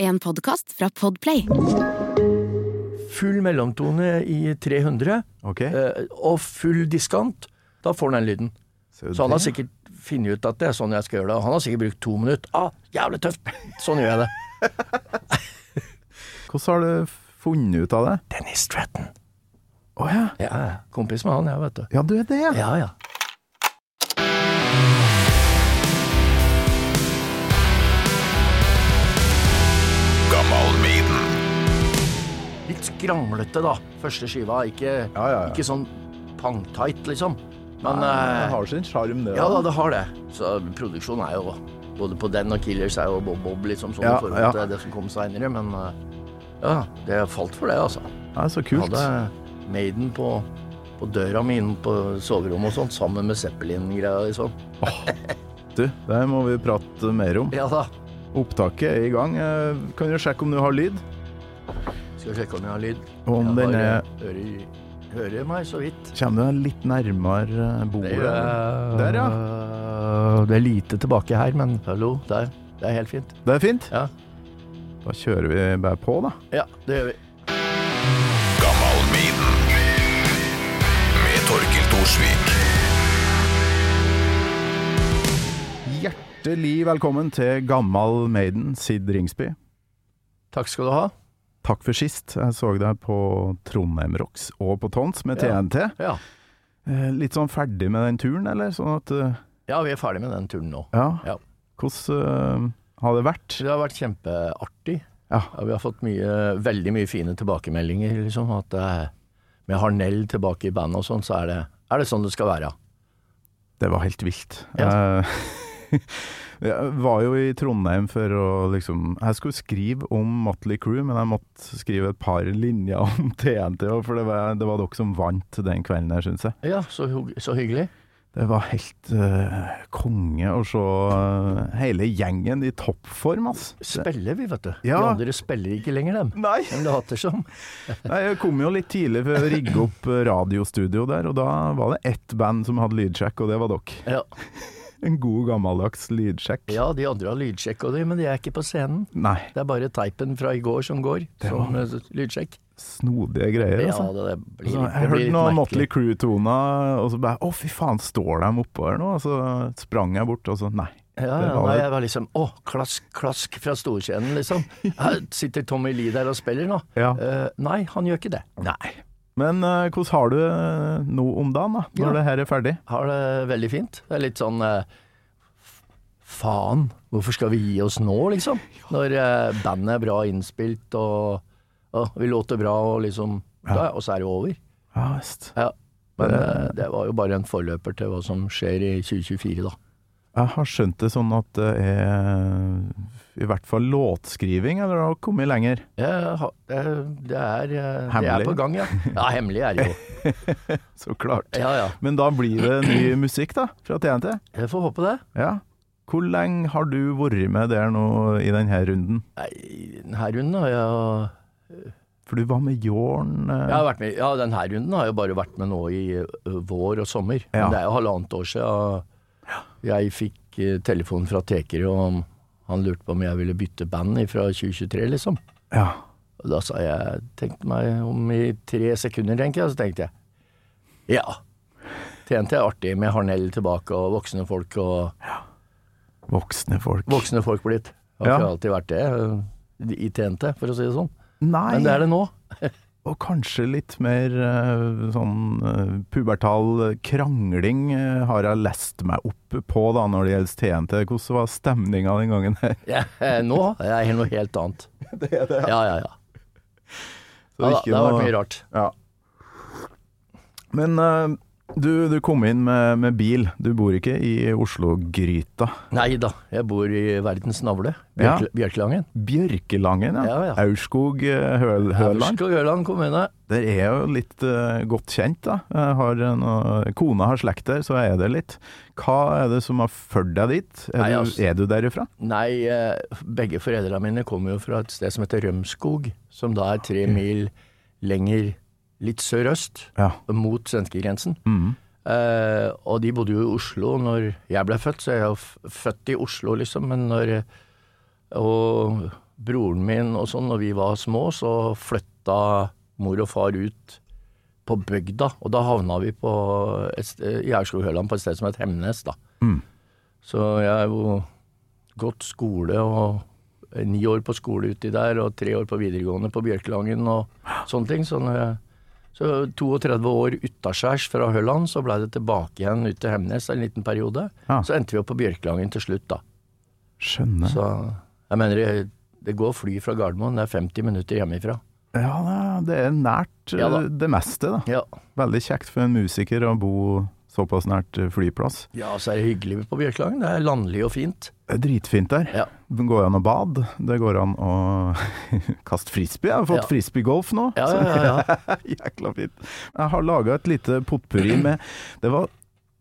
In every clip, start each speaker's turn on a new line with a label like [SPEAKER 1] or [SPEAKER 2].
[SPEAKER 1] En podkast fra Podplay.
[SPEAKER 2] Full mellomtone i 300,
[SPEAKER 3] Ok.
[SPEAKER 2] eh, og full diskant. Da får den den lyden. Så han har sikkert funnet ut at det er sånn jeg skal gjøre det. Og han har sikkert brukt to minutter. Ah, jævlig tøft! Sånn gjør jeg det.
[SPEAKER 3] Hvordan har du funnet ut av det?
[SPEAKER 2] Dennis Stratton.
[SPEAKER 3] Å ja.
[SPEAKER 2] Ja, ja. kompis med han, jeg, vet du.
[SPEAKER 3] Ja, du er det, ja.
[SPEAKER 2] Ja, ja. Litt skranglete, da. Første skiva. Ikke,
[SPEAKER 3] Ja, ja, ja.
[SPEAKER 2] ikke sånn pangtight, liksom. Men
[SPEAKER 3] Han
[SPEAKER 2] eh,
[SPEAKER 3] har sin sjarm, det.
[SPEAKER 2] Ja
[SPEAKER 3] da.
[SPEAKER 2] da, det har det. Så produksjonen er jo Både på den og Killers er jo Bob Bob, liksom, sånn
[SPEAKER 3] Ja,
[SPEAKER 2] i forhold
[SPEAKER 3] ja.
[SPEAKER 2] til det som kom seinere, men eh, ja, det falt for det, altså.
[SPEAKER 3] Ja, så
[SPEAKER 2] Jeg
[SPEAKER 3] kult.
[SPEAKER 2] hadde Maiden på, på døra mi inne på soverommet og sånt, sammen med Zeppelin-greia og sånn.
[SPEAKER 3] Du, det må vi prate mer om.
[SPEAKER 2] Ja da.
[SPEAKER 3] Opptaket er i gang. Eh, Kan du sjekke om du har lyd?
[SPEAKER 2] Skal sjekke om jeg har lyd.
[SPEAKER 3] Om
[SPEAKER 2] jeg
[SPEAKER 3] den
[SPEAKER 2] har,
[SPEAKER 3] er
[SPEAKER 2] eh, hører, hører meg så vidt. eh,
[SPEAKER 3] Kommer du deg litt nærmere eh, bordet? Der, ja.
[SPEAKER 2] Det er lite tilbake her, men hallo, der. Det er helt fint.
[SPEAKER 3] Det er fint.
[SPEAKER 2] Ja.
[SPEAKER 3] Da kjører vi bare på, da.
[SPEAKER 2] Ja, det gjør vi.
[SPEAKER 3] Hjertelig velkommen til Gammal Maiden, Sid Ringsby.
[SPEAKER 2] Takk skal du ha.
[SPEAKER 3] Takk for sist. Jeg så deg på Trondheim Rocks og på Tons med
[SPEAKER 2] Ja.
[SPEAKER 3] TNT.
[SPEAKER 2] Ja,
[SPEAKER 3] Eh, Litt sånn ferdig med den turen, eller? Sånn at eh,
[SPEAKER 2] ja vi er ferdig med den turen nå.
[SPEAKER 3] Ja.
[SPEAKER 2] Ja.
[SPEAKER 3] Hvordan eh, har det vært?
[SPEAKER 2] Det har vært kjempeartig.
[SPEAKER 3] Ja.
[SPEAKER 2] Ja, vi har fått mye, veldig mye fine tilbakemeldinger. Liksom, at eh, med Harnell tilbake i bandet og sånn, så er det, er det sånn det skal være.
[SPEAKER 3] Det var helt vilt. Eh, Jeg var jo i Trondheim for å liksom Jeg skulle skrive om Motley Crew, men jeg måtte skrive et par linjer om TNT, også, for det var, det var dere som vant den kvelden her, syns jeg.
[SPEAKER 2] Ja, så, hygg- så hyggelig.
[SPEAKER 3] Det var helt eh, konge å se eh, hele gjengen i toppform, ass.
[SPEAKER 2] Spiller vi, vet du.
[SPEAKER 3] Ja.
[SPEAKER 2] De andre spiller ikke lenger, dem.
[SPEAKER 3] Nei.
[SPEAKER 2] De later som.
[SPEAKER 3] Nei, Jeg kom jo litt tidlig for å rigge opp eh, radiostudio der, og da var det ett band som hadde lydsjekk, og det var dere.
[SPEAKER 2] Ja.
[SPEAKER 3] En god gammeldags lydsjekk.
[SPEAKER 2] ja, de andre har lydsjekk og de, men de er ikke på scenen.
[SPEAKER 3] Nei,
[SPEAKER 2] Det er bare teipen fra i går som går, som eh, lydsjekk.
[SPEAKER 3] snodige greier,
[SPEAKER 2] Ja,
[SPEAKER 3] altså.
[SPEAKER 2] det, det blir,
[SPEAKER 3] Så
[SPEAKER 2] litt-
[SPEAKER 3] jeg
[SPEAKER 2] det blir
[SPEAKER 3] hørte
[SPEAKER 2] litt
[SPEAKER 3] noen Motley
[SPEAKER 2] merkelig.
[SPEAKER 3] Crew-toner, og så bare Å, fy faen, står de oppå her nå? Og så sprang jeg bort, og så Nei.
[SPEAKER 2] Ja,
[SPEAKER 3] Det
[SPEAKER 2] ja,
[SPEAKER 3] var
[SPEAKER 2] nei,
[SPEAKER 3] det.
[SPEAKER 2] jeg var liksom Å, klask, klask fra storscenen, liksom. Her sitter Tommy Lee der og spiller nå.
[SPEAKER 3] Ja.
[SPEAKER 2] Eh, nei, han gjør ikke det.
[SPEAKER 3] Nei. Men eh, hvordan har du eh, nå om dagen, da? Når
[SPEAKER 2] Ja.
[SPEAKER 3] det her er ferdig?
[SPEAKER 2] Har det veldig fint. Det er litt sånn eh, f- Faen, hvorfor skal vi gi oss nå, liksom? Når eh, bandet er bra innspilt, og, og vi låter bra, og liksom da, Og så er det jo over.
[SPEAKER 3] Ja visst.
[SPEAKER 2] Ja. Men eh, det var jo bare en forløper til hva som skjer i 2024, da.
[SPEAKER 3] Jeg har skjønt det sånn at det er i hvert fall låtskriving, eller har kommet lenger?
[SPEAKER 2] Jeg har- eh, det, er, eh, det
[SPEAKER 3] Hemmelig?
[SPEAKER 2] er på gang, ja. Ja, hemmelig er det jo.
[SPEAKER 3] Så klart.
[SPEAKER 2] Ja, ja.
[SPEAKER 3] Men da blir det ny musikk, da, fra TNT?
[SPEAKER 2] Jeg får håpe det.
[SPEAKER 3] Ja. Hvor lenge har du vært med der nå i denne runden?
[SPEAKER 2] Nei, denne runden har jeg
[SPEAKER 3] For du var med Jorn eh,
[SPEAKER 2] Jeg har vært med, ja, denne runden har jeg bare vært med nå i ø, vår og sommer.
[SPEAKER 3] Ja.
[SPEAKER 2] Men det er jo halvannet år siden jeg fikk eh, telefon fra Tekerø om han lurte på om jeg ville bytte band fra 2023, liksom.
[SPEAKER 3] ja.
[SPEAKER 2] Og da sa jeg tenkte meg om i tre sekunder, tenker jeg, så tenkte jeg ja. TNT er artig med Harnell tilbake og voksne folk og
[SPEAKER 3] voksne folk.
[SPEAKER 2] voksne folk blitt. Har
[SPEAKER 3] Ja.
[SPEAKER 2] ikke alltid vært det ø, i TNT, for å si det sånn.
[SPEAKER 3] Nei,
[SPEAKER 2] Men det er det nå.
[SPEAKER 3] og kanskje litt mer eh, sånn eh, pubertal krangling eh, har jeg lest meg opp på da når det gjelder TNT. Hvordan var stemninga den gangen her?
[SPEAKER 2] Ja, eh, nå er jeg noe helt annet.
[SPEAKER 3] Det er det.
[SPEAKER 2] Ja, ja, ja.
[SPEAKER 3] Så
[SPEAKER 2] ja da,
[SPEAKER 3] ikke
[SPEAKER 2] det har
[SPEAKER 3] noe-
[SPEAKER 2] vært mye rart.
[SPEAKER 3] Ja. Men eh, du, du kom inn med, med bil. Du bor ikke i Oslo-gryta.
[SPEAKER 2] Nei da, jeg bor i verdens navle,
[SPEAKER 3] Ja.
[SPEAKER 2] Bjørk Bjørkelangen.
[SPEAKER 3] Bjørkelangen, ja.
[SPEAKER 2] Ja, ja.
[SPEAKER 3] Aurskog eh, Høl Høland.
[SPEAKER 2] Aurskog Høland kommune.
[SPEAKER 3] Det er jo litt eh, godt kjent, da. Jeg har en, eh, kona har slekt der, så jeg er det litt. Hva er det som har ført deg dit? Er,
[SPEAKER 2] Nei,
[SPEAKER 3] du,
[SPEAKER 2] altså-
[SPEAKER 3] er du derifra?
[SPEAKER 2] Nei, eh, begge foreldrene mine kommer jo fra et sted som heter Rømskog, som da er tre mil lenger litt sørøst,
[SPEAKER 3] Ja.
[SPEAKER 2] mot svenskegrensen.
[SPEAKER 3] Mm.
[SPEAKER 2] Eh, og de bodde jo i Oslo når jeg ble født, så jeg er jo f- født i Oslo, liksom, men når Og broren min og sånn, når vi var små, så flytta mor og far ut på bygda, og da havna vi på et sted, i Aurskog-Høland på et sted som het Hemnes, da.
[SPEAKER 3] Mm.
[SPEAKER 2] Så jeg har jo gått skole og ni år på skole uti der, og tre år på videregående på Bjørkelangen og sånne ting. Så, når jeg, så 32 år utaskjærs fra Høland, så blei det tilbake igjen ut til Hemnes en liten periode.
[SPEAKER 3] Ja.
[SPEAKER 2] Så endte vi opp på Bjørkelangen til slutt, da.
[SPEAKER 3] Skjønner.
[SPEAKER 2] Så jeg mener det, det går fly fra Gardermoen, det er 50 minutter hjemmefra.
[SPEAKER 3] Ja, det- det er nært
[SPEAKER 2] Ja da.
[SPEAKER 3] eh, det meste, da.
[SPEAKER 2] Ja.
[SPEAKER 3] Veldig kjekt for en musiker å bo såpass nært eh, flyplass.
[SPEAKER 2] ja, så er det hyggelig på Bjørkelangen. Det er landlig og fint.
[SPEAKER 3] Det er dritfint der.
[SPEAKER 2] Ja.
[SPEAKER 3] Det går an å bade, det går an å kaste frisbee. Jeg har
[SPEAKER 2] Ja.
[SPEAKER 3] fått frisbeegolf nå.
[SPEAKER 2] Ja, ja, ja. ja.
[SPEAKER 3] Jækla fint. Jeg har laga et lite potpurri med Det var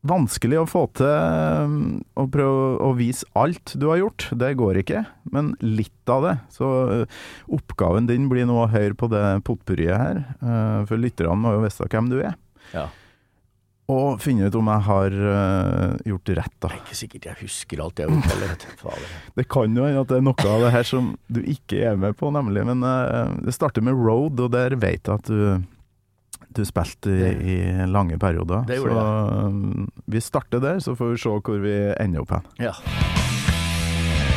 [SPEAKER 3] vanskelig å få til um, å prøve å vise alt du har gjort. Det går ikke, men litt av det. Så uh, oppgaven din blir nå å høre på det potpurriet her, uh, for lytterne må jo vite hvem du er.
[SPEAKER 2] Ja.
[SPEAKER 3] Og finne ut om jeg har uh, gjort rett, da.
[SPEAKER 2] Det er ikke sikkert jeg husker alt jeg har gjort heller. vet du. Fader.
[SPEAKER 3] Det kan jo hende at det er noe av det her som du ikke er med på, nemlig. Men eh, det starter med Road, og der vet jeg at du, du spilte i, i lange perioder.
[SPEAKER 2] Det
[SPEAKER 3] så
[SPEAKER 2] gjorde
[SPEAKER 3] eh, vi starter der, så får vi se hvor vi ender opp hen.
[SPEAKER 2] Ja.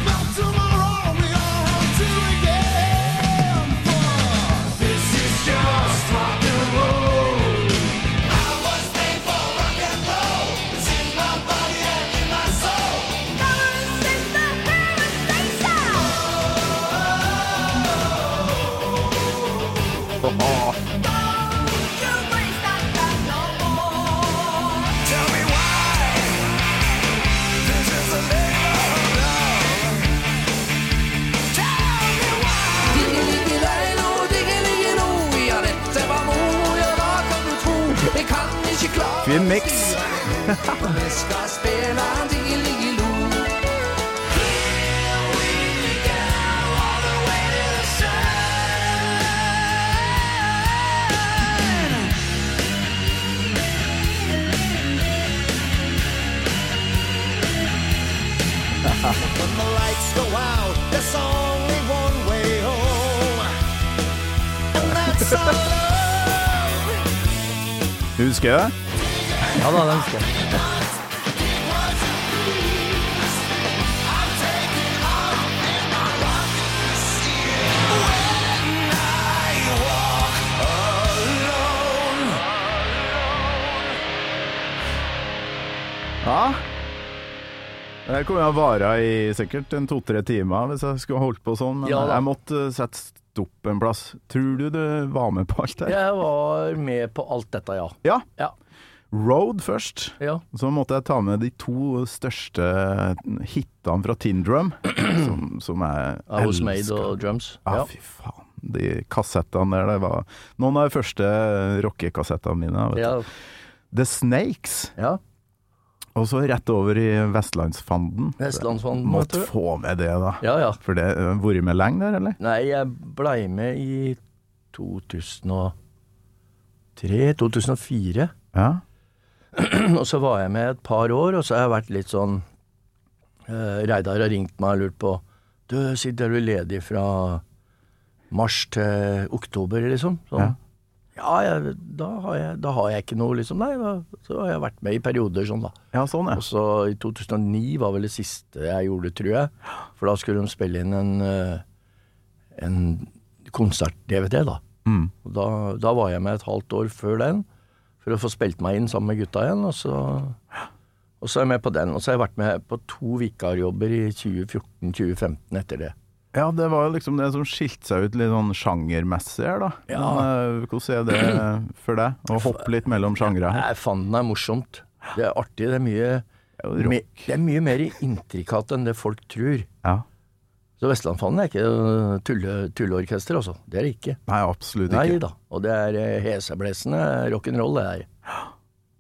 [SPEAKER 4] Not tomorrow we all have to again This is just rock and roll I was made for rock and roll It's in my body and in my soul Brothers, sisters, parents, they sound You waste that time no more Tell me why This is a labor of love
[SPEAKER 3] Fin mix.
[SPEAKER 4] When the lights go out, there's only one way home. And that's alone.
[SPEAKER 3] Husker jeg det?
[SPEAKER 2] ja da, den husker jeg.
[SPEAKER 3] Ja. Jeg kunne ha vara i sikkert en to-tre timer hvis jeg skulle holdt på sånn, men
[SPEAKER 2] Ja da.
[SPEAKER 3] jeg måtte eh, sette stopp en plass. Tror du du var med på alt her?
[SPEAKER 2] Jeg var med på alt dette, ja.
[SPEAKER 3] Ja.
[SPEAKER 2] Ja.
[SPEAKER 3] Road først.
[SPEAKER 2] ja.
[SPEAKER 3] Så måtte jeg ta med de to største hitene fra Tin Drum, som, som jeg
[SPEAKER 2] I was
[SPEAKER 3] elsker.
[SPEAKER 2] made og drums.
[SPEAKER 3] Ja,
[SPEAKER 2] Ja.
[SPEAKER 3] fy faen. De kassettene der, det var noen av de første rockekassettene mine. Vet
[SPEAKER 2] Ja.
[SPEAKER 3] du. The Snakes,
[SPEAKER 2] ja.
[SPEAKER 3] og så rett over i Vestlandsfanden.
[SPEAKER 2] Vestlandsfanden, vet
[SPEAKER 3] Måtte
[SPEAKER 2] du.
[SPEAKER 3] få med det, da.
[SPEAKER 2] Ja, ja.
[SPEAKER 3] For det har vært med lenge der, eller?
[SPEAKER 2] Nei, jeg blei med i 2003-2004.
[SPEAKER 3] Ja.
[SPEAKER 2] Og så var jeg med et par år, og så har jeg vært litt sånn eh, Reidar har ringt meg og lurt på Du, sitter du ledig fra mars til oktober, liksom? Sånn. Ja, jeg, da, har jeg, da har jeg ikke noe, liksom. Nei, da, så har jeg vært med i perioder sånn, da.
[SPEAKER 3] ja, sånn, ja.
[SPEAKER 2] Og så i 2009 var vel det siste jeg gjorde, tror jeg. For da skulle de spille inn en, eh, en konsert-DVD, da.
[SPEAKER 3] Mm.
[SPEAKER 2] Og da. Da var jeg med et halvt år før den, for å få spilt meg inn sammen med gutta igjen. Og så, og så er jeg med på den. Og så har jeg vært med på to vikarjobber i 2014-2015 etter det.
[SPEAKER 3] Ja, det var jo liksom det som skilte seg ut litt sånn sjangermessig her, da.
[SPEAKER 2] Ja.
[SPEAKER 3] Men, eh, hvordan er det for deg? Å hoppe litt mellom sjangre her?
[SPEAKER 2] Jeg fant den er morsomt. Det er artig. Det er mye,
[SPEAKER 3] Det er jo
[SPEAKER 2] me, det er mye mer intrikat enn det folk tror.
[SPEAKER 3] Ja.
[SPEAKER 2] Så Vestlandfanden er ikke øh, tulle, tulleorkester, altså. Det er det ikke.
[SPEAKER 3] Nei, absolutt
[SPEAKER 2] Nei
[SPEAKER 3] ikke.
[SPEAKER 2] da. Og det er eh, heseblesende rock'n'roll, det her.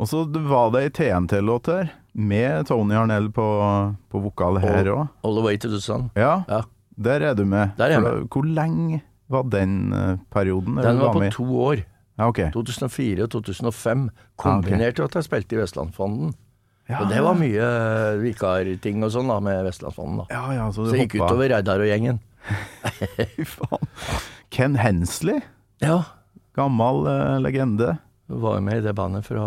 [SPEAKER 3] Og så var det ei TNT-låt her, med Tony Harnell på, på vokal her òg.
[SPEAKER 2] All the way to the sun.
[SPEAKER 3] Ja,
[SPEAKER 2] Ja.
[SPEAKER 3] der er du med.
[SPEAKER 2] Der er jeg
[SPEAKER 3] For da- Hvor lenge var den eh, perioden? der
[SPEAKER 2] Den
[SPEAKER 3] du
[SPEAKER 2] var på
[SPEAKER 3] med Ah, i?
[SPEAKER 2] to år.
[SPEAKER 3] Ja, ok.
[SPEAKER 2] 2004 og 2005. Kombinert med at jeg spilte i Vestlandfanden.
[SPEAKER 3] Ja,
[SPEAKER 2] Og det
[SPEAKER 3] Ah.
[SPEAKER 2] var mye vikarting og sånn da, med Vestlandfanden. da.
[SPEAKER 3] Ja, ja, så
[SPEAKER 2] Så
[SPEAKER 3] du
[SPEAKER 2] det gikk
[SPEAKER 3] hoppa
[SPEAKER 2] utover Reidar og gjengen.
[SPEAKER 3] Fy faen. Ken Hensley,
[SPEAKER 2] Ja,
[SPEAKER 3] gammel eh, legende.
[SPEAKER 2] jeg var jo med i det bandet fra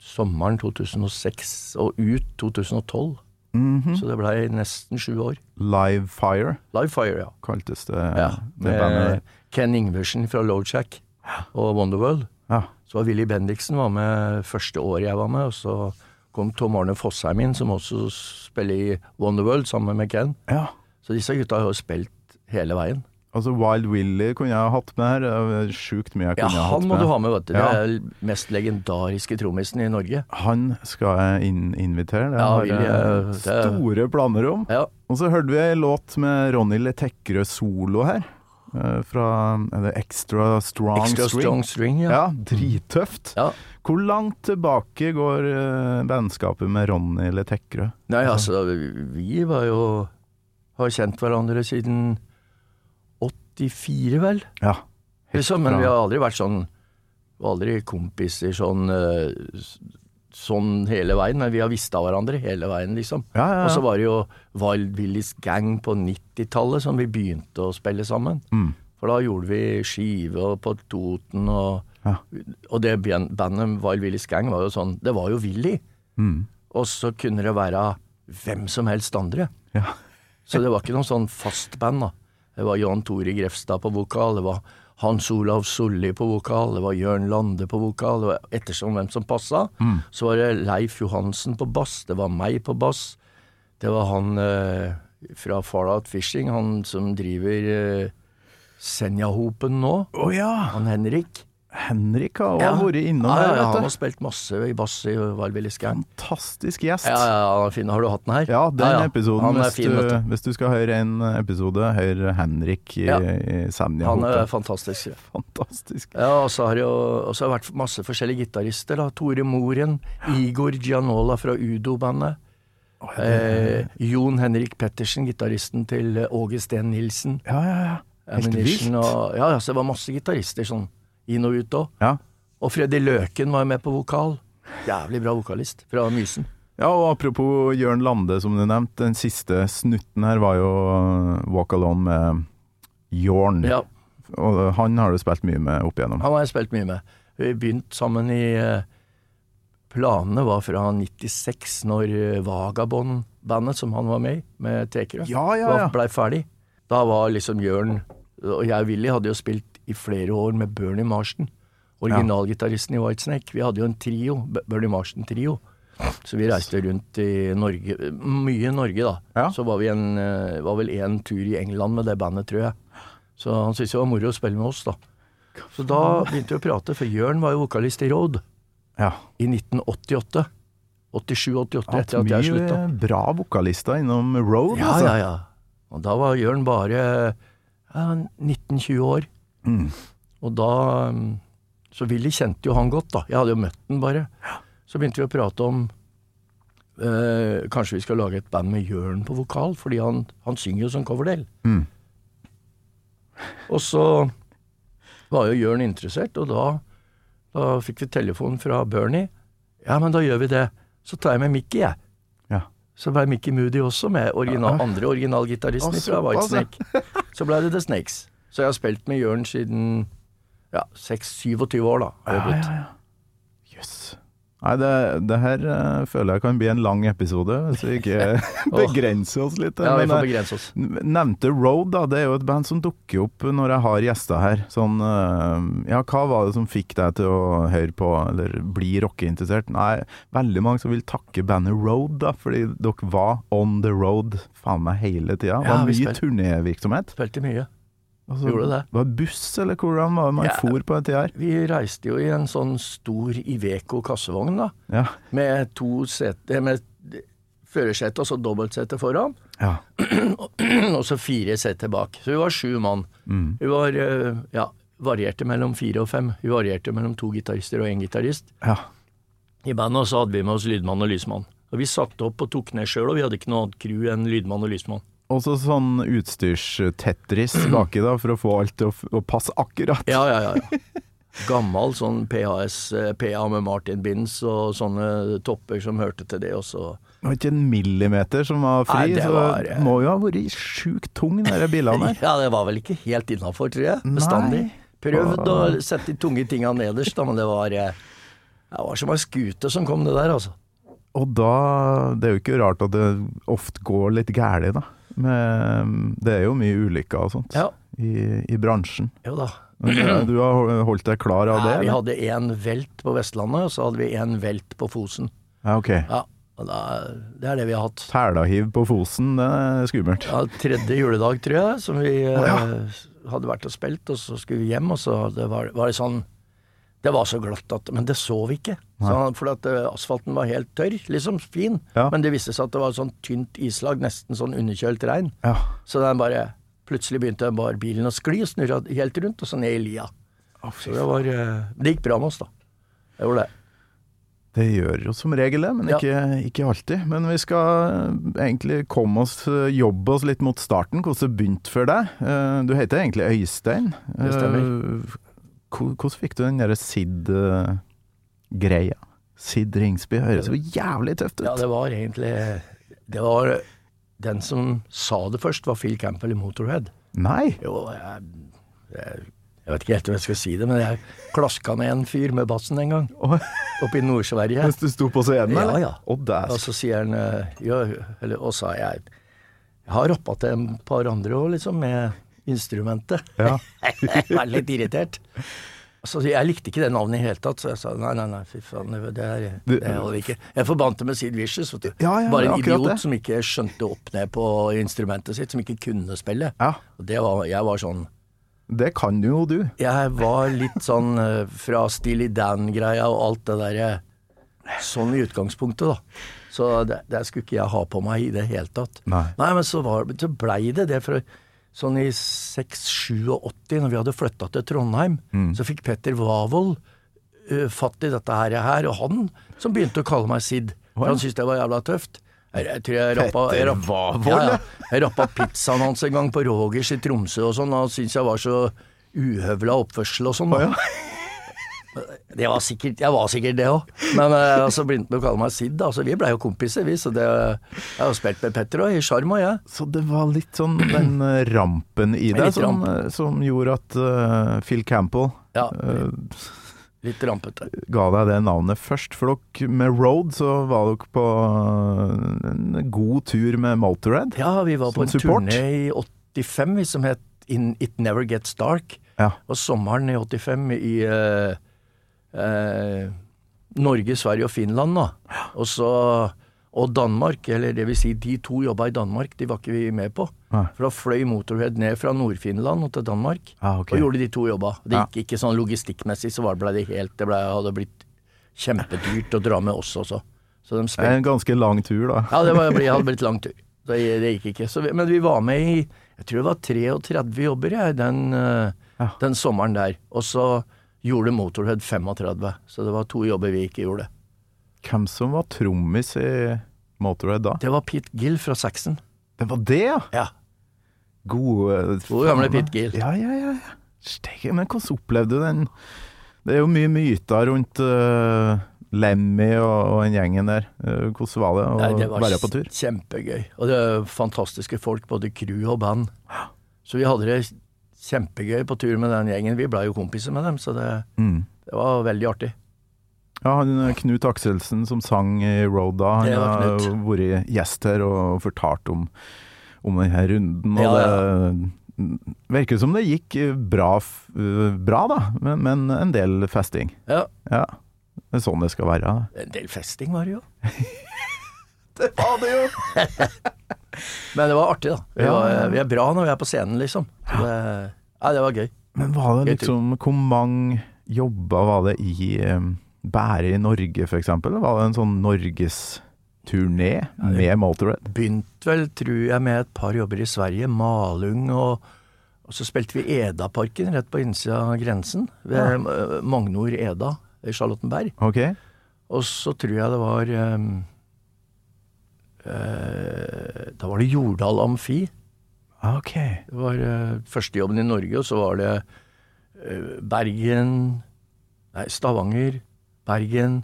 [SPEAKER 2] sommeren 2006 og ut 2012.
[SPEAKER 3] Mhm.
[SPEAKER 2] Så det blei nesten sju år.
[SPEAKER 3] Live Fire
[SPEAKER 2] Livefire, ja.
[SPEAKER 3] kaltes det, det bandet.
[SPEAKER 2] Med Ken Ingversen fra Lojack og Wonderworld.
[SPEAKER 3] Ja.
[SPEAKER 2] Så var Willy Bendiksen var med første året jeg var med, og så kom Tom Arne Fosheim inn, som også spiller i Wonderworld sammen med Ken.
[SPEAKER 3] ja.
[SPEAKER 2] Så disse gutta har jo spilt hele veien.
[SPEAKER 3] Altså Wild Willy kunne jeg ha hatt med her. Det er Sjukt mye jeg
[SPEAKER 2] Ja,
[SPEAKER 3] kunne ha hatt
[SPEAKER 2] han
[SPEAKER 3] med.
[SPEAKER 2] må du ha med, vet du. Det
[SPEAKER 3] Ja.
[SPEAKER 2] er den mest legendariske trommisen i Norge.
[SPEAKER 3] Han skal jeg inn invitere. Det
[SPEAKER 2] Ja,
[SPEAKER 3] har
[SPEAKER 2] Willy,
[SPEAKER 3] jeg
[SPEAKER 2] eh, det-
[SPEAKER 3] store planer om.
[SPEAKER 2] Ja,
[SPEAKER 3] Og så hørte vi ei låt med Ronny Letekrø solo her. eh, Fra er det Extra Strong
[SPEAKER 2] Extra
[SPEAKER 3] String.
[SPEAKER 2] Strong String, ja.
[SPEAKER 3] Ja, drittøft.
[SPEAKER 2] ja.
[SPEAKER 3] Hvor langt tilbake går eh, vennskapet med Ronny Letekrø?
[SPEAKER 2] Nei, altså, vi var jo Har kjent hverandre siden 84, vel?
[SPEAKER 3] Ja. helt
[SPEAKER 2] Liksom, men
[SPEAKER 3] fra-
[SPEAKER 2] vi har aldri vært sånn vi var Aldri kompiser sånn eh, s- Sånn hele veien, men vi har visst av hverandre hele veien, liksom.
[SPEAKER 3] ja, ja, ja.
[SPEAKER 2] Og så var det jo Wild Willys gang på 90-tallet som vi begynte å spille sammen.
[SPEAKER 3] Mm.
[SPEAKER 2] For da gjorde vi skive og på Toten og
[SPEAKER 3] Ja.
[SPEAKER 2] Og det ben- bandet Wild Willys gang var jo sånn Det var jo Willy.
[SPEAKER 3] Mm.
[SPEAKER 2] Og så kunne det være hvem som helst andre.
[SPEAKER 3] ja.
[SPEAKER 2] Så det var ikke noe sånn fast band, da. Det var Jan Tore Grefstad på vokal, det var Hans Olav Solli på vokal, det var Jørn Lande på vokal, det var ettersom hvem som passa.
[SPEAKER 3] Mm.
[SPEAKER 2] Så var det Leif Johansen på bass, det var meg på bass, det var han eh, fra Fallout Fishing, han som driver eh, Senjahopen nå,
[SPEAKER 3] Å ja!
[SPEAKER 2] han Henrik.
[SPEAKER 3] Henrik har også vært innom
[SPEAKER 2] ja, ja, ja,
[SPEAKER 3] der,
[SPEAKER 2] han har
[SPEAKER 3] vet du.
[SPEAKER 2] spilt masse i bass i Valbilly Scan.
[SPEAKER 3] Fantastisk gjest.
[SPEAKER 2] Ja, ja, han er fin. Har du hatt den her?
[SPEAKER 3] Ja, den
[SPEAKER 2] ja.
[SPEAKER 3] episoden. eh,
[SPEAKER 2] Han er
[SPEAKER 3] Hvis,
[SPEAKER 2] fin, vet
[SPEAKER 3] du,
[SPEAKER 2] du.
[SPEAKER 3] hvis du skal høre en episode, hør Henrik i,
[SPEAKER 2] Ja.
[SPEAKER 3] i Senja.
[SPEAKER 2] Han er
[SPEAKER 3] Hope.
[SPEAKER 2] fantastisk.
[SPEAKER 3] Fantastisk.
[SPEAKER 2] Ja, og så har det jo og så har det vært masse forskjellige gitarister. da. Tore Moren, Igor Gianola fra Udo-bandet. Eh, Jon Henrik Pettersen, gitaristen til eh, Åge Steen Nilsen.
[SPEAKER 3] Ja, ja, ja. Helt
[SPEAKER 2] Ammunition
[SPEAKER 3] vilt.
[SPEAKER 2] Og, ja, ja, så det var masse gitarister sånn inn og ut òg.
[SPEAKER 3] Ja.
[SPEAKER 2] Og Freddy Løken var jo med på vokal. Jævlig bra vokalist fra Mysen.
[SPEAKER 3] Ja, og apropos Jørn Lande, som du nevnte. Den siste snutten her var jo uh, Walk Alone med Jørn.
[SPEAKER 2] Ja,
[SPEAKER 3] Og uh, han har du spilt mye med opp igjennom.
[SPEAKER 2] han har jeg spilt mye med. Vi begynte sammen i eh, Planene var fra 96, når eh, Vagabond-bandet, som han var med i, med Tekerø
[SPEAKER 3] Ja, ja,
[SPEAKER 2] ja.
[SPEAKER 3] ja.
[SPEAKER 2] blei ferdig. Da var liksom Jørn og jeg og Willy hadde jo spilt i flere år med Bernie Marston. Originalgitaristen i Whitesnake. Vi hadde jo en trio, B- Bernie Marston-trio. Så vi reiste rundt i Norge, mye i Norge da.
[SPEAKER 3] Ja.
[SPEAKER 2] Så var vi en, eh, var vel en tur i England med det bandet, tror jeg. Så han syntes det var moro å spille med oss, da. Så da begynte vi å prate, for Jørn var jo vokalist i Road
[SPEAKER 3] ja.
[SPEAKER 2] i 1988. 87-88,
[SPEAKER 3] Hatt
[SPEAKER 2] etter at
[SPEAKER 3] mye
[SPEAKER 2] jeg slutta.
[SPEAKER 3] bra vokalister innom Road,
[SPEAKER 2] Ja,
[SPEAKER 3] altså.
[SPEAKER 2] ja, ja. Og da var Jørn bare ja, 19-20 år.
[SPEAKER 3] Mm.
[SPEAKER 2] Og da um, Så Willy kjente jo han godt, da. Jeg hadde jo møtt han bare. Så begynte vi å prate om eh, Kanskje vi skal lage et band med Jørn på vokal, fordi han, han synger jo som coverdel.
[SPEAKER 3] Mm.
[SPEAKER 2] Og så var jo Jørn interessert, og da, da fikk vi telefon fra Bernie. Ja, men da gjør vi det. Så tar jeg med Mickey, jeg.
[SPEAKER 3] Ja.
[SPEAKER 2] Så ble Mickey Moody også med, original, andre originalgitaristen
[SPEAKER 3] Og
[SPEAKER 2] fra
[SPEAKER 3] såpass,
[SPEAKER 2] Whitesnake. Så ble det The Snakes. Så jeg har spilt med Jørn siden ja, 26-27 år, da. Har jeg blitt.
[SPEAKER 3] Jøss. Nei, det, det her eh, føler jeg kan bli en lang episode, hvis vi ikke begrenser oss litt.
[SPEAKER 2] Ja, vi
[SPEAKER 3] Men, eh,
[SPEAKER 2] får begrense oss.
[SPEAKER 3] Nevnte Road, da. Det er jo et band som dukker opp når jeg har gjester her. Sånn øh, Ja, hva var det som fikk deg til å høre på, eller bli rockeinteressert? Nei, veldig mange som vil takke bandet Road, da, fordi dere var on the road faen meg hele tida. Det
[SPEAKER 2] Ja,
[SPEAKER 3] var
[SPEAKER 2] vi
[SPEAKER 3] mye
[SPEAKER 2] spil-
[SPEAKER 3] turnévirksomhet.
[SPEAKER 2] Spilte mye.
[SPEAKER 3] Altså,
[SPEAKER 2] Gjorde det.
[SPEAKER 3] Var det buss, eller hvordan var det man
[SPEAKER 2] Ja.
[SPEAKER 3] for på den tida her?
[SPEAKER 2] Vi reiste jo i en sånn stor Iveco kassevogn, da.
[SPEAKER 3] Ja.
[SPEAKER 2] Med to seter eh, Med førersete og så dobbeltsete foran.
[SPEAKER 3] ja.
[SPEAKER 2] og så fire seter bak. Så vi var sju mann. Vi var, eh, ja, varierte mellom fire og fem. Vi varierte mellom to gitarister og én gitarist.
[SPEAKER 3] ja.
[SPEAKER 2] I bandet så hadde vi med oss lydmann og lysmann. Og Vi satte opp og tok ned sjøl, og vi hadde ikke noe annet crew enn lydmann og lysmann.
[SPEAKER 3] Og så sånn utstyrs-Tetris baki, da, for å få alt til å, f- å passe akkurat.
[SPEAKER 2] Ja, ja, ja. ja. Gammal sånn PAS, eh, PA med Martin Binds og sånne topper som hørte til det. Og så
[SPEAKER 3] Det var ikke en millimeter som var fri,
[SPEAKER 2] Nei, det
[SPEAKER 3] så
[SPEAKER 2] var,
[SPEAKER 3] det
[SPEAKER 2] eh,
[SPEAKER 3] må jo ha vært sjukt tung, de der bilene der.
[SPEAKER 2] Ja, det var vel ikke helt innafor, tror jeg. Bestandig.
[SPEAKER 3] Nei.
[SPEAKER 2] Prøvd å sette de tunge tinga nederst, da, men det var eh, Det var som ei skute som kom, det der, altså.
[SPEAKER 3] Og da Det er jo ikke rart at det ofte går litt gærlig da. Men eh, det er jo mye ulykker og sånt
[SPEAKER 2] Ja.
[SPEAKER 3] i, i bransjen.
[SPEAKER 2] Jo da.
[SPEAKER 3] Men eh, du har hol- holdt deg klar av det?
[SPEAKER 2] Nei, vi
[SPEAKER 3] eller?
[SPEAKER 2] hadde én velt på Vestlandet, og så hadde vi én velt på Fosen.
[SPEAKER 3] Ja, ok.
[SPEAKER 2] Ja, og da, Det er det vi har hatt.
[SPEAKER 3] Tælahiv på Fosen, det er skummelt.
[SPEAKER 2] Ja, tredje juledag, tror jeg, som vi eh, hadde vært og spilt, og så skulle vi hjem, og så det var, var det sånn Det var så glatt at Men det så vi ikke. Så, for at eh, asfalten var helt tørr, liksom fin,
[SPEAKER 3] Ja.
[SPEAKER 2] men det viste seg at det var sånn tynt islag, nesten sånn underkjølt regn.
[SPEAKER 3] Ja.
[SPEAKER 2] Så den bare Plutselig begynte bare bilen å skli, snurra helt rundt, og så ned i lia. Så det var eh, Det gikk bra med oss, da. Det gjorde det.
[SPEAKER 3] Det gjør jo som regel det, men
[SPEAKER 2] Ja.
[SPEAKER 3] ikke, ikke alltid. Men vi skal eh, egentlig komme oss, eh, jobbe oss litt mot starten, hvordan det begynte for deg. Eh, Du heter egentlig Øystein.
[SPEAKER 2] Det stemmer.
[SPEAKER 3] Eh, hvor- Hvordan fikk du den derre Sid-greia? Sid Ringsby høres jo jævlig tøft ut.
[SPEAKER 2] Ja, det var egentlig Det var Den som sa det først, var Phil Campbell i Motorhead.
[SPEAKER 3] Nei!
[SPEAKER 2] Jo, jeg, jeg, jeg vet ikke helt om jeg skal si det, men jeg klaska ned en fyr med bassen en gang. Oppe i Nord-Sverige.
[SPEAKER 3] Mens du sto på scenen,
[SPEAKER 2] Ja,
[SPEAKER 3] eller?
[SPEAKER 2] ja.
[SPEAKER 3] Å, dæs.
[SPEAKER 2] Og så sier han eh, ja, eller, Og sa jeg Jeg har rappa til en par andre òg, liksom, med instrumentet.
[SPEAKER 3] Ja.
[SPEAKER 2] jeg var litt irritert. Så jeg likte ikke det navnet i det hele tatt, så jeg sa nei, nei, nei, fy faen, det, det, er,
[SPEAKER 3] Du-
[SPEAKER 2] det holder ikke. Jeg forbandt det med Sid Vicious, vet du.
[SPEAKER 3] Ja, ja,
[SPEAKER 2] Bare en
[SPEAKER 3] akkurat
[SPEAKER 2] idiot
[SPEAKER 3] det.
[SPEAKER 2] som ikke skjønte opp ned på instrumentet sitt, som ikke kunne spille.
[SPEAKER 3] Ja.
[SPEAKER 2] Og det var, jeg var sånn
[SPEAKER 3] Det kan jo du.
[SPEAKER 2] jeg var litt sånn eh, fra Steely Dan-greia og alt det derre Sånn i utgangspunktet, da. Så det, det skulle ikke jeg ha på meg i det hele tatt.
[SPEAKER 3] Nei.
[SPEAKER 2] men så, var, så blei det det. For sånn i 86-87, når vi hadde flytta til Trondheim, så fikk Petter Wavold eh, fatt i dette her, her, og han som begynte å kalle meg Sid. For han syntes det var jævla tøft. Jeg, jeg tror jeg rappa, jeg
[SPEAKER 3] Petter
[SPEAKER 2] rapp-
[SPEAKER 3] Wavold,
[SPEAKER 2] ja,
[SPEAKER 3] ja.
[SPEAKER 2] ja. Jeg rappa pizzaen hans en gang på Rogers i Tromsø og sånn, og han syntes jeg var så uhøvla oppførsel og sånn. da. Det var sikkert, jeg var sikkert det òg, men eh, altså, begynte han å kalle meg Sid. da, så Vi blei jo kompiser, vi. Så det, jeg har jo spilt med Petter òg, i sjarm og jeg.
[SPEAKER 3] Så det var litt sånn den eh, rampen i deg
[SPEAKER 2] Litt ramp.
[SPEAKER 3] som, eh, som gjorde at eh, Phil Campbell
[SPEAKER 2] Ja,
[SPEAKER 3] eh,
[SPEAKER 2] litt rampete.
[SPEAKER 3] ga deg det navnet først. For dere med Road så var dere på eh, en god tur med Motorhead.
[SPEAKER 2] Ja, vi var på
[SPEAKER 3] Som
[SPEAKER 2] en
[SPEAKER 3] support?
[SPEAKER 2] turné i 85 vi, som het In It Never Gets Dark.
[SPEAKER 3] Ja.
[SPEAKER 2] Og sommeren i 85 i eh, eh, Norge, Sverige og Finland, da. Og, så, og Danmark, eller det vil si de to jobba i Danmark, de var ikke vi med på.
[SPEAKER 3] Nei.
[SPEAKER 2] For da fløy Motorhead ned fra Nord-Finland og til Danmark,
[SPEAKER 3] Ah, ok.
[SPEAKER 2] og gjorde de to jobba. Det
[SPEAKER 3] Ja.
[SPEAKER 2] gikk ikke sånn logistikkmessig, så var det- ble det helt Det ble, hadde blitt kjempedyrt å dra med oss også. Så de
[SPEAKER 3] Det er
[SPEAKER 2] spilte
[SPEAKER 3] en ganske lang tur, da.
[SPEAKER 2] ja, det var, det hadde blitt lang tur. Så Det, det gikk ikke. Så vi, men vi var med i jeg tror det var 33 jobber jeg, den, eh,
[SPEAKER 3] Ja.
[SPEAKER 2] den sommeren der. Og så gjorde Motorhead 35, så det var to jobber vi ikke gjorde.
[SPEAKER 3] Hvem som var trommis i Motorhead da?
[SPEAKER 2] Det var Pete Gill fra Saxon.
[SPEAKER 3] Det var det, ja!
[SPEAKER 2] Ja.
[SPEAKER 3] Gode eh,
[SPEAKER 2] Hvor gamle
[SPEAKER 3] faen, da.
[SPEAKER 2] Pete Gill?
[SPEAKER 3] Ja, ja, ja. ja. Steike, men hvordan opplevde du den Det er jo mye myter rundt eh, Lemmy og, og den gjengen der. Eh, hvordan var det å
[SPEAKER 2] Nei, det var
[SPEAKER 3] være på tur?
[SPEAKER 2] kjempegøy. Og det er fantastiske folk, både crew og band. Så vi hadde det kjempegøy på tur med den gjengen. Vi blei jo kompiser med dem, så det,
[SPEAKER 3] Mm.
[SPEAKER 2] det var veldig artig.
[SPEAKER 3] Ja, han, eh, Knut Akselsen som sang i Road da, han
[SPEAKER 2] Det var
[SPEAKER 3] har
[SPEAKER 2] Knut.
[SPEAKER 3] vært gjest her og fortalt om, om denne runden. Og
[SPEAKER 2] Ja,
[SPEAKER 3] det virker som det gikk eh, bra, f- eh, bra da, men, men en del festing.
[SPEAKER 2] Ja,
[SPEAKER 3] Ja, det er sånn det skal være. da.
[SPEAKER 2] en del festing var det jo.
[SPEAKER 3] Det var det jo!
[SPEAKER 2] Men det var artig, da. Vi,
[SPEAKER 3] Ja,
[SPEAKER 2] var,
[SPEAKER 3] ja, ja.
[SPEAKER 2] vi er bra når vi er på scenen, liksom. Så Det, nei, det var gøy.
[SPEAKER 3] Men var det
[SPEAKER 2] Jeg tror-
[SPEAKER 3] liksom, hvor mange jobber var det i eh, Bære i Norge for eksempel? Var det en sånn Norgesturné med Motorhead?
[SPEAKER 2] Begynte vel, tror jeg, med et par jobber i Sverige. Malung og Og så spilte vi Edaparken rett på innsida av grensen. Ved eh, Magnor Eda i Charlottenberg.
[SPEAKER 3] Ok,
[SPEAKER 2] Og så tror jeg det var ehm, eh, Da var det Jordal Amfi.
[SPEAKER 3] ok.
[SPEAKER 2] Det var eh, førstejobben i Norge, og så var det eh, Bergen Nei, Stavanger, Bergen,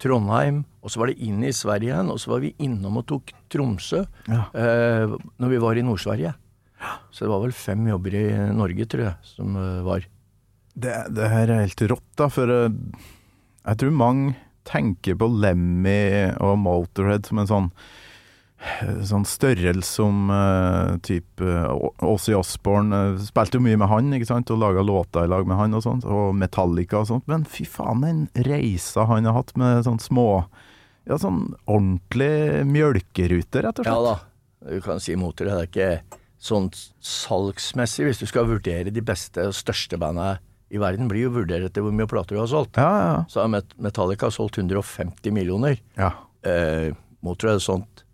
[SPEAKER 2] Trondheim, og så var det inn i Sverige igjen, og så var vi innom og tok Tromsø
[SPEAKER 3] Ja.
[SPEAKER 2] eh, når vi var i Nord-Sverige. Så det var vel fem jobber i Norge, tror jeg, som eh, var.
[SPEAKER 3] Det, det her er helt rått, da, for eh, jeg tror mange tenker på Lemmy og Motorhead som en sånn Sånn størrelse som uh, type Åssi Osborne eh, Spilte jo mye med han, ikke sant, og laga låter i lag med han og sånt, og Metallica og sånt, men fy faen, den reisa han har hatt med sånn små Ja, sånn ordentlig mjølkerute, rett og
[SPEAKER 2] Ja
[SPEAKER 3] slett.
[SPEAKER 2] da, du kan si imot det. Det er ikke sånn salgsmessig, hvis du skal vurdere de beste og største banda i verden, blir jo vurdert etter hvor mye plater du har solgt.
[SPEAKER 3] Ja, ja, ja.
[SPEAKER 2] Så har Met- Metallica solgt 150 millioner.
[SPEAKER 3] ja.
[SPEAKER 2] Eh, Motorhead sånt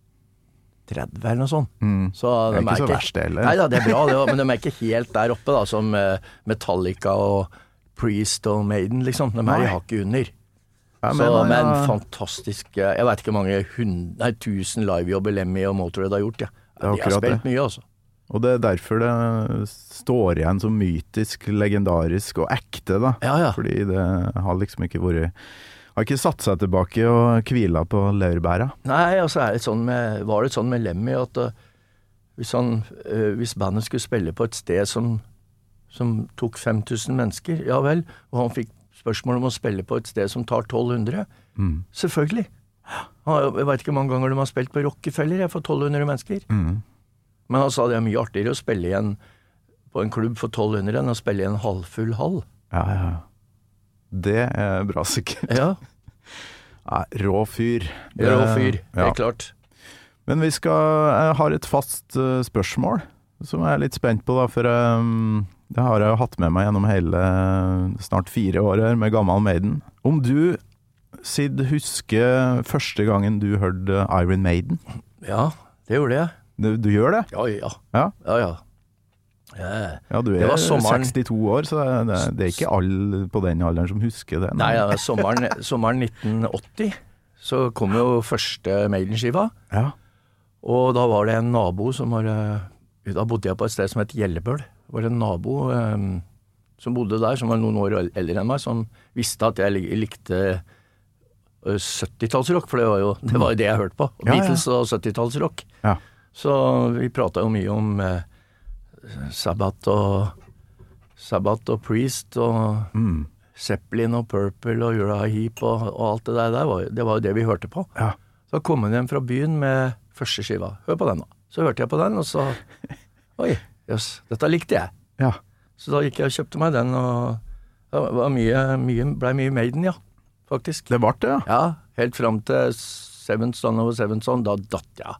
[SPEAKER 2] 30 eller noe sånt.
[SPEAKER 3] Mm.
[SPEAKER 2] Så de
[SPEAKER 3] Det er ikke så verst, det heller.
[SPEAKER 2] Nei da, det er bra, det òg, men de er ikke helt der oppe, da, som eh, Metallica og Priest og Maiden, liksom. De er
[SPEAKER 3] Nei.
[SPEAKER 2] i hakket under.
[SPEAKER 3] Jeg
[SPEAKER 2] Så,
[SPEAKER 3] mener,
[SPEAKER 2] men
[SPEAKER 3] ja.
[SPEAKER 2] fantastisk eh, Jeg veit ikke hvor mange hund, nei, tusen livejobber Lemmy og Motorhead har gjort. Ja.
[SPEAKER 3] er
[SPEAKER 2] De har
[SPEAKER 3] akkurat
[SPEAKER 2] spilt mye, altså.
[SPEAKER 3] Og det er derfor det står igjen som mytisk, legendarisk og ekte, da.
[SPEAKER 2] Ja, ja.
[SPEAKER 3] Fordi det har liksom ikke vært Har ikke satt seg tilbake og hvila på laurbæra.
[SPEAKER 2] Nei, altså er det sånn med, var det sånn med Lemmy at eh, hvis, han, eh, hvis bandet skulle spille på et sted som, som tok 5000 mennesker, ja vel, og han fikk spørsmål om å spille på et sted som tar 1200,
[SPEAKER 3] Mm.
[SPEAKER 2] selvfølgelig. Han har jo- Jeg veit ikke hvor mange ganger de har spilt på Rockefeller jeg, for 1200 mennesker.
[SPEAKER 3] Mm.
[SPEAKER 2] Men han sa det er mye artigere å spille igjen på en klubb for 1200 enn å spille i en halvfull hall.
[SPEAKER 3] Ja, ja. Det er bra, sikkert.
[SPEAKER 2] Ja, Eh,
[SPEAKER 3] Nei, rå fyr. Det-
[SPEAKER 2] Rå fyr,
[SPEAKER 3] Ja.
[SPEAKER 2] helt klart.
[SPEAKER 3] Men vi skal Jeg har et fast eh, spørsmål som jeg er litt spent på, da. For eh, det har jeg jo hatt med meg gjennom hele eh, snart fire år her med Gammal Maiden. Om du, Sid, husker første gangen du hørte Iron Maiden?
[SPEAKER 2] Ja, det gjorde jeg.
[SPEAKER 3] Du, du gjør det?
[SPEAKER 2] Ja, ja.
[SPEAKER 3] Ja.
[SPEAKER 2] ja, ja. Eh,
[SPEAKER 3] Ja, du
[SPEAKER 2] Det
[SPEAKER 3] er
[SPEAKER 2] var sommeren.
[SPEAKER 3] 62 år, så det, det, det er ikke alle på den alderen som husker det.
[SPEAKER 2] Nei, ja, sommeren, sommeren 1980 så kom jo første Maiden-skiva,
[SPEAKER 3] Ja.
[SPEAKER 2] og da var det en nabo som var eh, Da bodde jeg på et sted som het Gjellebøl. Det var en nabo eh, som bodde der, som var noen år el- eldre enn meg, som visste at jeg lik- likte eh, 70-tallsrock, for det var, jo, det var jo det jeg hørte på.
[SPEAKER 3] Ja, ja.
[SPEAKER 2] Beatles og 70-tallsrock.
[SPEAKER 3] Ja.
[SPEAKER 2] Så vi prata jo mye om eh, Sabbat og Sabbat og Priest og
[SPEAKER 3] Mm.
[SPEAKER 2] Zeppelin og Purple og Uriah Heap og, og alt det der, der var, jo- det var jo det vi hørte på.
[SPEAKER 3] Ja.
[SPEAKER 2] Så kom hun hjem fra byen med første skiva. Hør på den, da. Så hørte jeg på den, og så Oi, jøss, dette likte jeg.
[SPEAKER 3] ja.
[SPEAKER 2] Så da gikk jeg og kjøpte meg den, og det var mye, mye, ble mye Maiden, ja. Faktisk.
[SPEAKER 3] Det ble det, ja?
[SPEAKER 2] Ja, helt fram til Seven Son over Seven Son. Da datt jeg.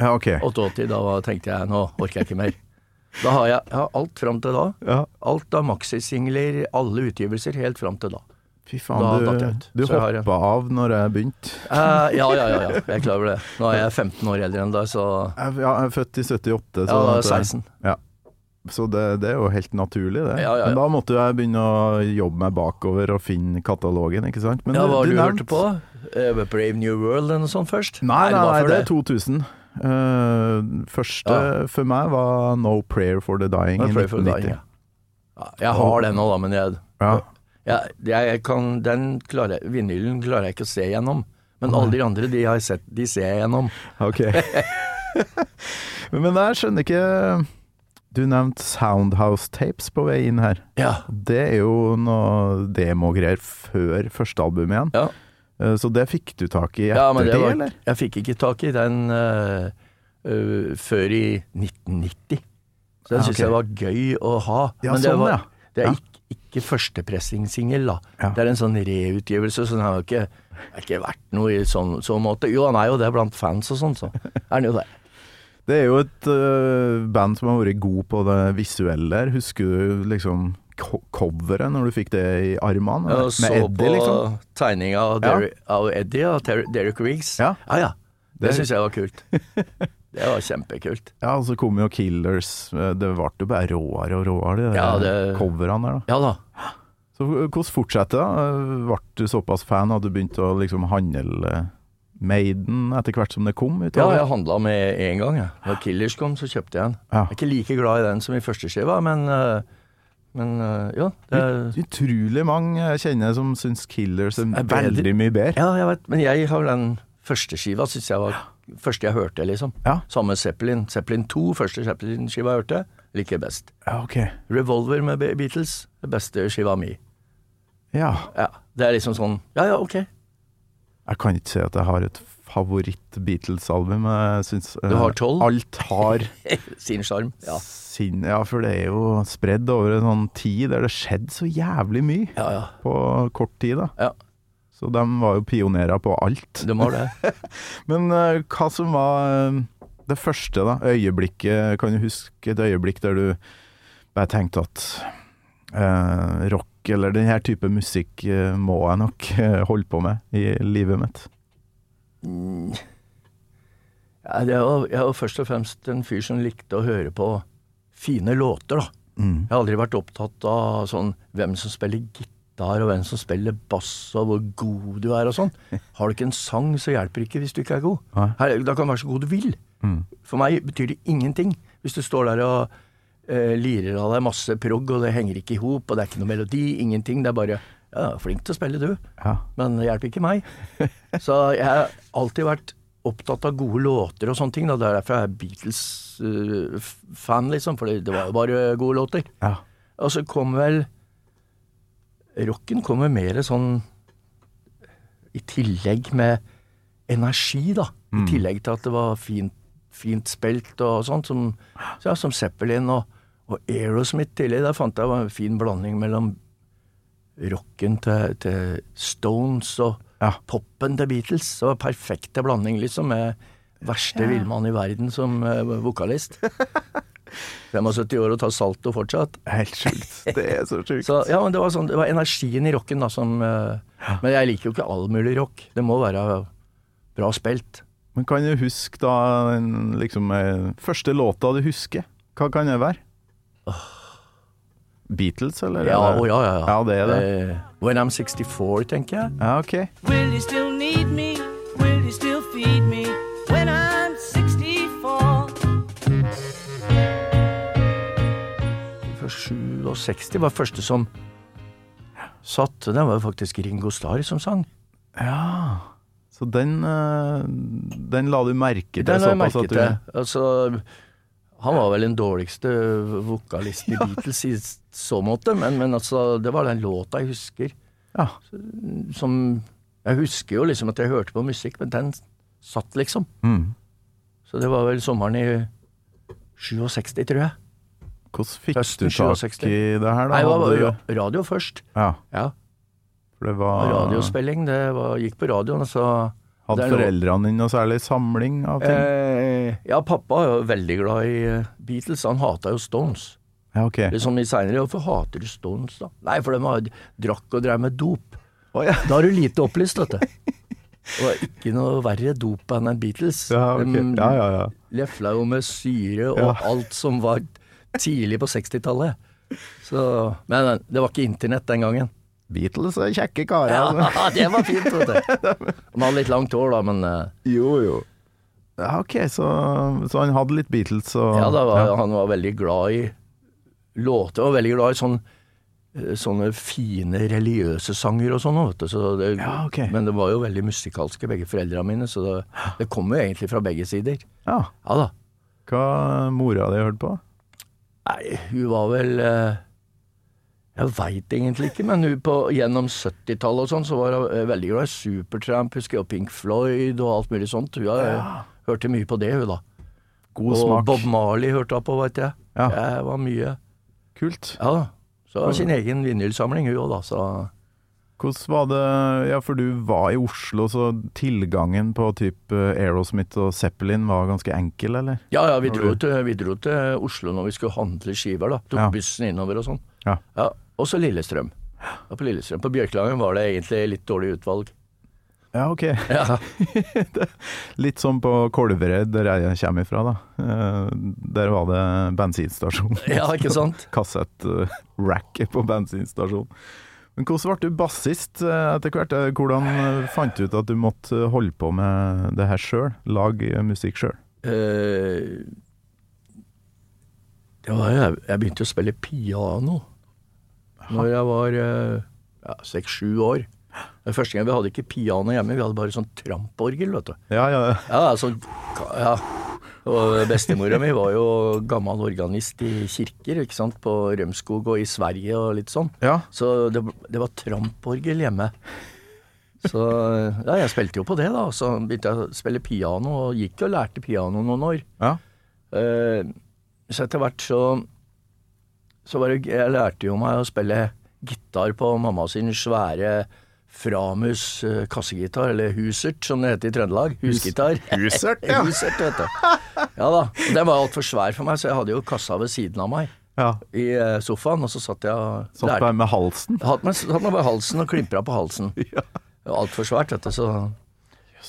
[SPEAKER 3] Ja, ok.
[SPEAKER 2] 88, da var- tenkte jeg nå orker jeg ikke mer. Da har jeg, jeg har alt fram til da.
[SPEAKER 3] Ja.
[SPEAKER 2] Alt av maxisingler, alle utgivelser, helt fram til da.
[SPEAKER 3] Fy
[SPEAKER 2] Da
[SPEAKER 3] faen,
[SPEAKER 2] datt jeg ut.
[SPEAKER 3] du, du
[SPEAKER 2] Så jeg har-
[SPEAKER 3] hoppa av når jeg begynte.
[SPEAKER 2] Eh, ja, ja, ja, ja. Jeg er klar over det. Nå er jeg 15 år eldre enn deg, så
[SPEAKER 3] Jeg, ja, jeg er født i 78,
[SPEAKER 2] Ja,
[SPEAKER 3] så,
[SPEAKER 2] da er jeg
[SPEAKER 3] at
[SPEAKER 2] 16.
[SPEAKER 3] Ja. så det, det er jo helt naturlig, det.
[SPEAKER 2] Ja, ja, ja.
[SPEAKER 3] Men da måtte jeg begynne å jobbe meg bakover og finne katalogen, ikke sant? Men
[SPEAKER 2] Ja, hva har du
[SPEAKER 3] nevnte-
[SPEAKER 2] hørte på? Eh, Brave New World eller noe sånt først?
[SPEAKER 3] Nei,
[SPEAKER 2] det
[SPEAKER 3] nei,
[SPEAKER 2] var
[SPEAKER 3] nei
[SPEAKER 2] før
[SPEAKER 3] det er 2000. Eh, første
[SPEAKER 2] Ja.
[SPEAKER 3] for meg var No Prayer for the Dying
[SPEAKER 2] No
[SPEAKER 3] i
[SPEAKER 2] Prayer for the
[SPEAKER 3] 1990.
[SPEAKER 2] Dying, ja. Ja, jeg har den nå, da, men jeg,
[SPEAKER 3] ja.
[SPEAKER 2] jeg, jeg kan, den klarer, jeg- vinylen klarer jeg ikke å se gjennom. Men alle de andre, de har jeg sett, de ser jeg gjennom.
[SPEAKER 3] Ok. Men jeg skjønner ikke Du nevnte Soundhouse Tapes på vei inn her.
[SPEAKER 2] Ja.
[SPEAKER 3] Det er jo noe demogreier før første album igjen.
[SPEAKER 2] Ja,
[SPEAKER 3] Eh, Så det fikk du tak i i ettertid,
[SPEAKER 2] ja men det var
[SPEAKER 3] eller?
[SPEAKER 2] Jeg fikk ikke tak i den eh, eh, før i 1990. Så
[SPEAKER 3] Ja,
[SPEAKER 2] den syns
[SPEAKER 3] Ah, ok.
[SPEAKER 2] jeg var gøy å ha.
[SPEAKER 3] Ja,
[SPEAKER 2] men det
[SPEAKER 3] sånn,
[SPEAKER 2] var,
[SPEAKER 3] ja.
[SPEAKER 2] Det
[SPEAKER 3] Ja.
[SPEAKER 2] er ikke, ikke førstepressingssingel, da.
[SPEAKER 3] Ja.
[SPEAKER 2] Det er en sånn reutgivelse, så den har jo ikke, har ikke vært noe i sånn så måte. Jo, han er jo det blant fans og sånn, så er han jo det.
[SPEAKER 3] Det er jo et eh, band som har vært god på det visuelle her. Husker du liksom co- coveret når du fikk det i armene? liksom?
[SPEAKER 2] Jeg
[SPEAKER 3] eller?
[SPEAKER 2] så på tegninga av,
[SPEAKER 3] Ja.
[SPEAKER 2] Derek, av Eddie og Ter Derek Riggs.
[SPEAKER 3] Ja.
[SPEAKER 2] ja. ja. Det,
[SPEAKER 3] Det-
[SPEAKER 2] synes syns jeg var kult. Det var kjempekult.
[SPEAKER 3] Ja, og så kom jo Killers. Eh, Det ble jo bare råere og råere, de der
[SPEAKER 2] Ja, det-
[SPEAKER 3] coverne der, da.
[SPEAKER 2] Ja da.
[SPEAKER 3] Så eh, hvordan fortsetter det? Eh, Ble du såpass fan at du begynte å liksom handle Maiden etter hvert som det kom? ut?
[SPEAKER 2] Ja,
[SPEAKER 3] eller?
[SPEAKER 2] jeg handla med en gang. Jeg. Når Killers kom, så kjøpte jeg en.
[SPEAKER 3] Ja.
[SPEAKER 2] Jeg er ikke like glad i den som i første skiva, men, eh, Men eh, ja, det er
[SPEAKER 3] Utrolig mange jeg kjenner som syns Killers er
[SPEAKER 2] Er
[SPEAKER 3] veldig,
[SPEAKER 2] veldig-
[SPEAKER 3] mye bedre.
[SPEAKER 2] Ja, jeg vet, men jeg har vel den første skiva, synes jeg var første jeg hørte, liksom.
[SPEAKER 3] Ja.
[SPEAKER 2] Samme med Zeppelin. Zeppelin 2, første Zeppelin-skiva jeg hørte, liker jeg best.
[SPEAKER 3] Ja, ok.
[SPEAKER 2] Revolver med Be- Beatles, det beste skiva mi.
[SPEAKER 3] Ja.
[SPEAKER 2] Ja, det er liksom sånn, ja ja, ok.
[SPEAKER 3] Jeg kan ikke si at jeg har et favoritt-Beatles-album. Jeg syns eh,
[SPEAKER 2] Du har tolv?
[SPEAKER 3] Alt har
[SPEAKER 2] Sin sjarm. Ja.
[SPEAKER 3] sin Ja, for det er jo spredd over en sånn tid der det skjedde så jævlig mye
[SPEAKER 2] ja, ja.
[SPEAKER 3] på kort tid, da.
[SPEAKER 2] Ja,
[SPEAKER 3] Så de var jo pionerer på alt.
[SPEAKER 2] de har det.
[SPEAKER 3] Men eh, hva som var eh, det første, da? Øyeblikket Kan du huske et øyeblikk der du bare tenkte at eh, rock eller den her type musikk eh, må jeg nok eh, holde på med i livet mitt?
[SPEAKER 2] Ja, det var, jeg var først og fremst en fyr som likte å høre på fine låter, da. Jeg har aldri vært opptatt av sånn hvem som spiller gitar, og hvem som spiller bass, og hvor god du er og sånn. Har du ikke en sang, så hjelper det ikke hvis du ikke er god.
[SPEAKER 3] Nei.
[SPEAKER 2] Her, da kan du være så god du vil. For meg betyr det ingenting hvis du står der og eh, lirer av deg masse prog, og det henger ikke i hop, og det er ikke noe melodi, ingenting. Det er bare ja, flink til å spille, du
[SPEAKER 3] Ja.
[SPEAKER 2] men det hjelper ikke meg. Så jeg har alltid vært opptatt av gode låter og sånne ting. Da. Det er derfor jeg er Beatles-fan, liksom, for det var jo bare gode låter.
[SPEAKER 3] ja.
[SPEAKER 2] Og så kom vel Rocken kommer mer sånn i tillegg med energi, da. I tillegg til at det var fint, fint spilt og sånt, som, så ja, som Zeppelin og, og Aerosmith tidlig. Der fant jeg var en fin blanding mellom rocken til, til Stones og
[SPEAKER 3] Ja.
[SPEAKER 2] poppen til Beatles. Det var perfekte blanding, liksom, med verste villmann i verden som eh, vokalist. 75 år og tar salto fortsatt.
[SPEAKER 3] Helt sjukt. Det er så sjukt.
[SPEAKER 2] Så, ja, men det var, sånn, det var energien i rocken da som eh, Men jeg liker jo ikke all mulig rock. Det må være bra spilt.
[SPEAKER 3] Men kan du huske da den liksom, eh, første låta du husker? Hva kan det være? Beatles, eller?
[SPEAKER 2] Ja,
[SPEAKER 3] Eller-
[SPEAKER 2] å, ja, ja, ja.
[SPEAKER 3] Ja, det er det.
[SPEAKER 2] Eh, When I'm 64, tenker jeg.
[SPEAKER 3] Ja, ok.
[SPEAKER 5] Will you still need me? Will you still feed me when I'm 64?
[SPEAKER 2] For 67 var første som satt. Det var jo faktisk Ringo Starr som sang.
[SPEAKER 3] Ja. Så den, eh, den la du merke til
[SPEAKER 2] Den har jeg
[SPEAKER 3] såpass
[SPEAKER 2] merket
[SPEAKER 3] at du
[SPEAKER 2] til. Altså, han var vel den dårligste vokalisten i Beatles i så måte, men, men altså, det var den låta jeg husker.
[SPEAKER 3] Ja.
[SPEAKER 2] som Jeg husker jo liksom at jeg hørte på musikk, men den satt liksom.
[SPEAKER 3] Mm.
[SPEAKER 2] Så det var vel sommeren i 67, tror jeg.
[SPEAKER 3] Hvordan fikk
[SPEAKER 2] Høsten
[SPEAKER 3] du tak
[SPEAKER 2] 67.
[SPEAKER 3] i det her, da?
[SPEAKER 2] Nei, det var
[SPEAKER 3] Hadde du-
[SPEAKER 2] ra- radio først.
[SPEAKER 3] ja,
[SPEAKER 2] Ja,
[SPEAKER 3] for det var
[SPEAKER 2] Radiospilling. Det var, gikk på radioen, og så
[SPEAKER 3] Hadde
[SPEAKER 2] det er lov-
[SPEAKER 3] foreldrene dine noe særlig samling av ting?
[SPEAKER 2] Eh, ja, pappa er jo veldig glad i eh, Beatles. Han hata jo Stones.
[SPEAKER 3] ja, ok.
[SPEAKER 2] Liksom litt seinere. Hvorfor hater du Stones, da? Nei, for de har, drakk og drev med dop. Da har du lite opplyst, vet du. Det var ikke noe verre dop enn en Beatles.
[SPEAKER 3] Ja, ok.
[SPEAKER 2] De
[SPEAKER 3] ja, ja, ja.
[SPEAKER 2] lefla jo med syre og
[SPEAKER 3] Ja.
[SPEAKER 2] alt som var tidlig på 60-tallet. Så, men men, det var ikke internett den gangen.
[SPEAKER 3] Beatles er kjekke karer. altså.
[SPEAKER 2] Ja, det var fint, vet du. Han hadde litt langt hår da, men eh,
[SPEAKER 3] Jo, jo. Ja, ok, så, så han hadde litt Beatles og
[SPEAKER 2] ja, da var, han var veldig glad i låter, og veldig glad i sånn, eh, sånne fine religiøse sanger og sånn, vet du. Så det,
[SPEAKER 3] Ja, ok.
[SPEAKER 2] Men det var jo veldig musikalske, begge foreldrene mine, så det, det kom jo egentlig fra begge sider.
[SPEAKER 3] Ja.
[SPEAKER 2] Ja da.
[SPEAKER 3] Hva mora di hørte på?
[SPEAKER 2] Nei, hun var vel eh, Jeg veit egentlig ikke, men hun på, gjennom 70-tallet og sånn, så var hun eh, veldig glad i Supertramp, husker jeg, og Pink Floyd og alt mulig sånt. Hun eh, hørte mye på det, hun da.
[SPEAKER 3] God
[SPEAKER 2] og
[SPEAKER 3] smak.
[SPEAKER 2] Bob Marley hørte hun på, veit jeg.
[SPEAKER 3] Ja.
[SPEAKER 2] Det var mye.
[SPEAKER 3] Kult.
[SPEAKER 2] Ja da. Så det var sin egen vinylsamling, hun òg, da. Så
[SPEAKER 3] Hvordan var det Ja, for du var i Oslo, så tilgangen på typ eh, Aerosmith og Zeppelin var ganske enkel, eller?
[SPEAKER 2] ja ja, vi
[SPEAKER 3] Var
[SPEAKER 2] dro,
[SPEAKER 3] du-
[SPEAKER 2] til, vi dro til Oslo når vi skulle handle skiver, da. Tok
[SPEAKER 3] Ja.
[SPEAKER 2] bussen innover og sånn.
[SPEAKER 3] Ja.
[SPEAKER 2] Ja, og så Lillestrøm. Og på Lillestrøm. På Bjørklangen var det egentlig litt dårlig utvalg.
[SPEAKER 3] Ja, ok.
[SPEAKER 2] Ja.
[SPEAKER 3] Litt som på Kolvereid, der jeg kommer ifra, da. Eh, Der var det bensinstasjon.
[SPEAKER 2] ja, ikke sant?
[SPEAKER 3] Kassett-racket på bensinstasjon. Men hvordan ble du bassist eh, etter hvert? Eh, Hvordan eh, fant du ut at du måtte eh, holde på med det her sjøl? Lage eh, musikk sjøl?
[SPEAKER 2] Eh, det var, jo- jeg begynte å spille piano når jeg var eh, seks-sju år. Den første gangen Vi hadde ikke piano hjemme, vi hadde bare sånn tramporgel. vet du.
[SPEAKER 3] Ja, ja.
[SPEAKER 2] Ja, altså, ja. Og bestemora mi var jo gammel organist i kirker, ikke sant, på Rømskog og i Sverige og litt sånn.
[SPEAKER 3] ja.
[SPEAKER 2] Så det, det var tramporgel hjemme. Så ja, jeg spilte jo på det, da. Så begynte jeg å spille piano, og gikk og lærte piano noen år.
[SPEAKER 3] ja.
[SPEAKER 2] Eh, så etter hvert så Så var det Jeg lærte jo meg å spille gitar på mamma sin svære Framus eh, kassegitar, eller Husert som det heter i Trøndelag. Husgitar.
[SPEAKER 3] Husert, ja.
[SPEAKER 2] ja. Husert, vet du. Ja da. Den var altfor svær for meg, så jeg hadde jo kassa ved siden av meg
[SPEAKER 3] ja.
[SPEAKER 2] i eh, sofaen, og så satt jeg og
[SPEAKER 3] Satt
[SPEAKER 2] lærte.
[SPEAKER 3] bare med halsen.
[SPEAKER 2] Hatt meg, hatt meg på halsen og klimpra på halsen.
[SPEAKER 3] Ja.
[SPEAKER 2] Det var Altfor svært, dette. Så.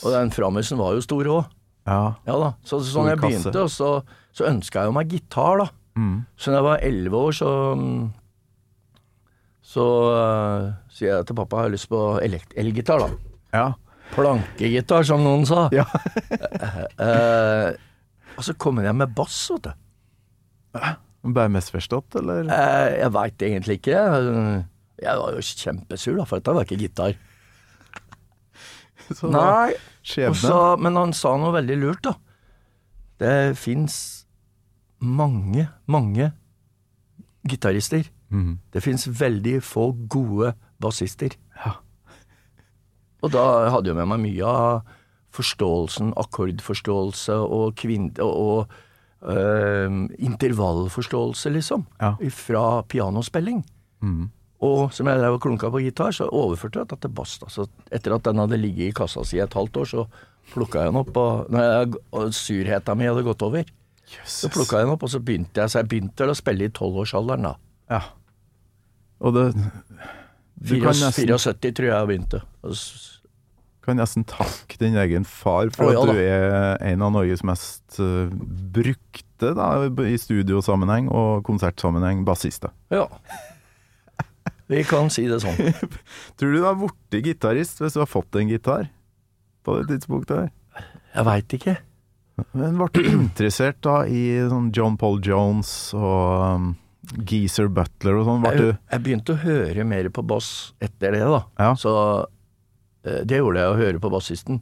[SPEAKER 2] Og den framusen var jo stor òg.
[SPEAKER 3] Ja.
[SPEAKER 2] Ja da. Så så når jeg
[SPEAKER 3] kasse. Mm.
[SPEAKER 2] begynte, og så, så ønska jeg jo meg gitar, da. Så da jeg var elleve år, så mm, Så øh, sier jeg til pappa jeg har lyst på elekt- elgitar, da.
[SPEAKER 3] Ja.
[SPEAKER 2] Plankegitar, som noen sa.
[SPEAKER 3] Ja.
[SPEAKER 2] Eh, og så kom jeg med bass, vet du.
[SPEAKER 3] Bare misforstått, eller?
[SPEAKER 2] Eh, jeg veit egentlig ikke. Jeg var jo kjempesur, da, for dette var ikke gitar.
[SPEAKER 3] Så da-
[SPEAKER 2] Nei, Og
[SPEAKER 3] Skjebnen.
[SPEAKER 2] så- men han sa noe veldig lurt, da. Det fins mange, mange gitarister. Det fins veldig få gode bassister.
[SPEAKER 3] Ja.
[SPEAKER 2] Og da hadde jeg med meg mye av forståelsen, akkordforståelse og, kvin- og, og øhm, intervallforståelse, liksom,
[SPEAKER 3] Ja. Mm.
[SPEAKER 2] fra pianospilling. Og som jeg drev og klunka på gitar, så overførte jeg dette til bass. da. Så etter at den hadde ligget i kassa si et halvt år, så plukka jeg den opp. Og når jeg, og surheta mi hadde gått over, så plukka jeg den opp, og så begynte jeg. Så jeg begynte vel å spille i tolvårsalderen, da.
[SPEAKER 3] Ja. Og det Du kan
[SPEAKER 2] 74,
[SPEAKER 3] nesten,
[SPEAKER 2] tror jeg jeg begynte. Og s-
[SPEAKER 3] kan nesten takke din egen far for
[SPEAKER 2] Å, ja
[SPEAKER 3] at
[SPEAKER 2] da.
[SPEAKER 3] du er en av Norges mest eh, brukte da, i studiosammenheng og konsertsammenheng bassister.
[SPEAKER 2] Ja. Vi kan si det sånn.
[SPEAKER 3] Tror du du har blitt gitarist hvis du har fått en gitar på det tidspunktet? her?
[SPEAKER 2] Jeg veit ikke.
[SPEAKER 3] Men ble du interessert da i sånn John Paul Jones og um, Geezer Butler og sånn? Ble du
[SPEAKER 2] Jeg, jeg begynte å høre mer på bass etter det, da.
[SPEAKER 3] Ja.
[SPEAKER 2] Så eh, det gjorde jeg, å høre på bassisten.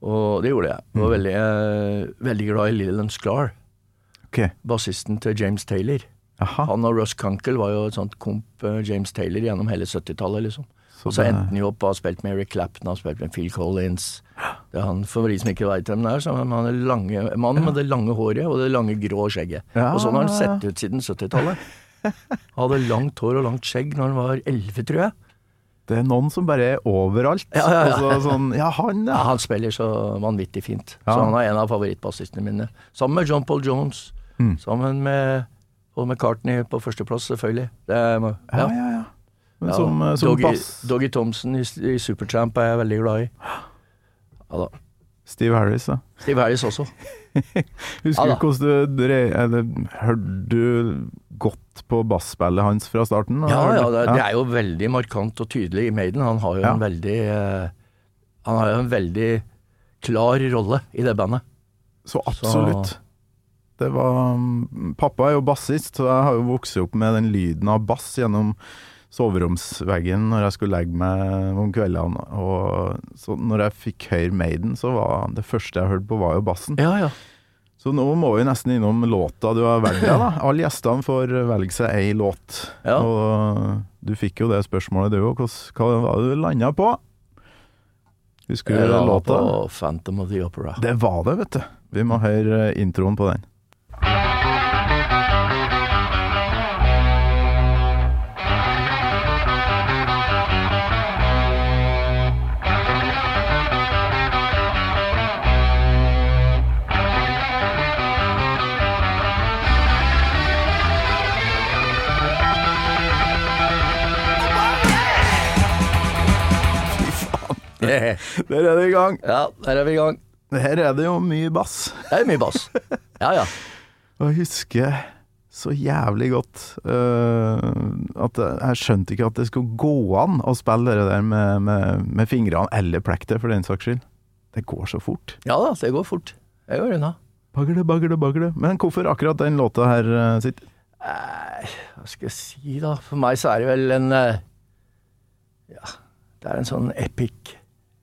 [SPEAKER 2] Og det gjorde jeg. Jeg var veldig, eh, veldig glad i Leland Sklar,
[SPEAKER 3] Ok.
[SPEAKER 2] bassisten til James Taylor.
[SPEAKER 3] Aha.
[SPEAKER 2] Han og Russ Kunkel var jo et sånt komp eh, James Taylor gjennom hele 70-tallet, liksom.
[SPEAKER 3] Så
[SPEAKER 2] Og så
[SPEAKER 3] det-
[SPEAKER 2] endte han jo opp og har spilt med Eric Clapton, har spilt med Phil Collins. Det er han, For de som ikke veit hvem det er, så er han en lange, mann med det lange håret og det lange grå skjegget.
[SPEAKER 3] Ja.
[SPEAKER 2] Og sånn har han sett ut siden 70-tallet. Han hadde langt hår og langt skjegg når han var 11, tror jeg.
[SPEAKER 3] Det er noen som bare er overalt.
[SPEAKER 2] Ja, ja, ja.
[SPEAKER 3] Og så sånn, ja, han,
[SPEAKER 2] Ja,
[SPEAKER 3] ja.
[SPEAKER 2] han spiller så vanvittig fint.
[SPEAKER 3] Ja.
[SPEAKER 2] Så han er en av favorittbassistene mine. Sammen med John Paul Jones.
[SPEAKER 3] Mm.
[SPEAKER 2] Sammen med Paul McCartney på førsteplass, selvfølgelig. Det er, ja.
[SPEAKER 3] Ja, ja, ja. Men
[SPEAKER 2] Ja,
[SPEAKER 3] som, eh, som
[SPEAKER 2] Doggy,
[SPEAKER 3] bass
[SPEAKER 2] Doggy Thompson i, i Supertramp er jeg veldig glad i. Ja da.
[SPEAKER 3] Steve Harris, da.
[SPEAKER 2] Steve Harris også.
[SPEAKER 3] Husker
[SPEAKER 2] Ja, da.
[SPEAKER 3] du hvordan du dre- eller, Hørte du godt på basspillet hans fra starten?
[SPEAKER 2] Ja, ja, det, det
[SPEAKER 3] ja.
[SPEAKER 2] er jo veldig markant og tydelig i Maiden. Han har jo
[SPEAKER 3] Ja.
[SPEAKER 2] en veldig eh, Han har jo en veldig klar rolle i det bandet.
[SPEAKER 3] Så absolutt. Det var mm, Pappa er jo bassist, så jeg har jo vokst opp med den lyden av bass gjennom soveromsveggen når jeg skulle legge meg om kveldene. Og så når jeg fikk høre Maiden, så var det første jeg hørte på, var jo bassen.
[SPEAKER 2] Ja, ja.
[SPEAKER 3] Så nå må vi nesten innom låta du har valgt deg, da. Alle gjestene får velge seg ei låt.
[SPEAKER 2] Ja.
[SPEAKER 3] Og du fikk jo det spørsmålet du òg. Hva var det du landa på? Husker du
[SPEAKER 2] Eller
[SPEAKER 3] låta?
[SPEAKER 2] På Phantom of the Opera.
[SPEAKER 3] Det var det, vet du. Vi må høre eh, introen på den. Der er det i gang.
[SPEAKER 2] Ja, der er vi i gang.
[SPEAKER 3] Her er det jo mye bass.
[SPEAKER 2] Det er mye bass. Ja, ja.
[SPEAKER 3] Og jeg husker så jævlig godt eh, at jeg, jeg skjønte ikke at det skulle gå an å spille det der med, med, med fingrene, eller plekter for den saks skyld. Det går så fort.
[SPEAKER 2] Ja da, det går fort. Jeg går unna.
[SPEAKER 3] Bagle, bagle, bagle. Men hvorfor akkurat den låta her, eh, sitt?
[SPEAKER 2] Eh, Hva skal jeg si, da? For meg så er det vel en eh, Ja, det er en sånn epic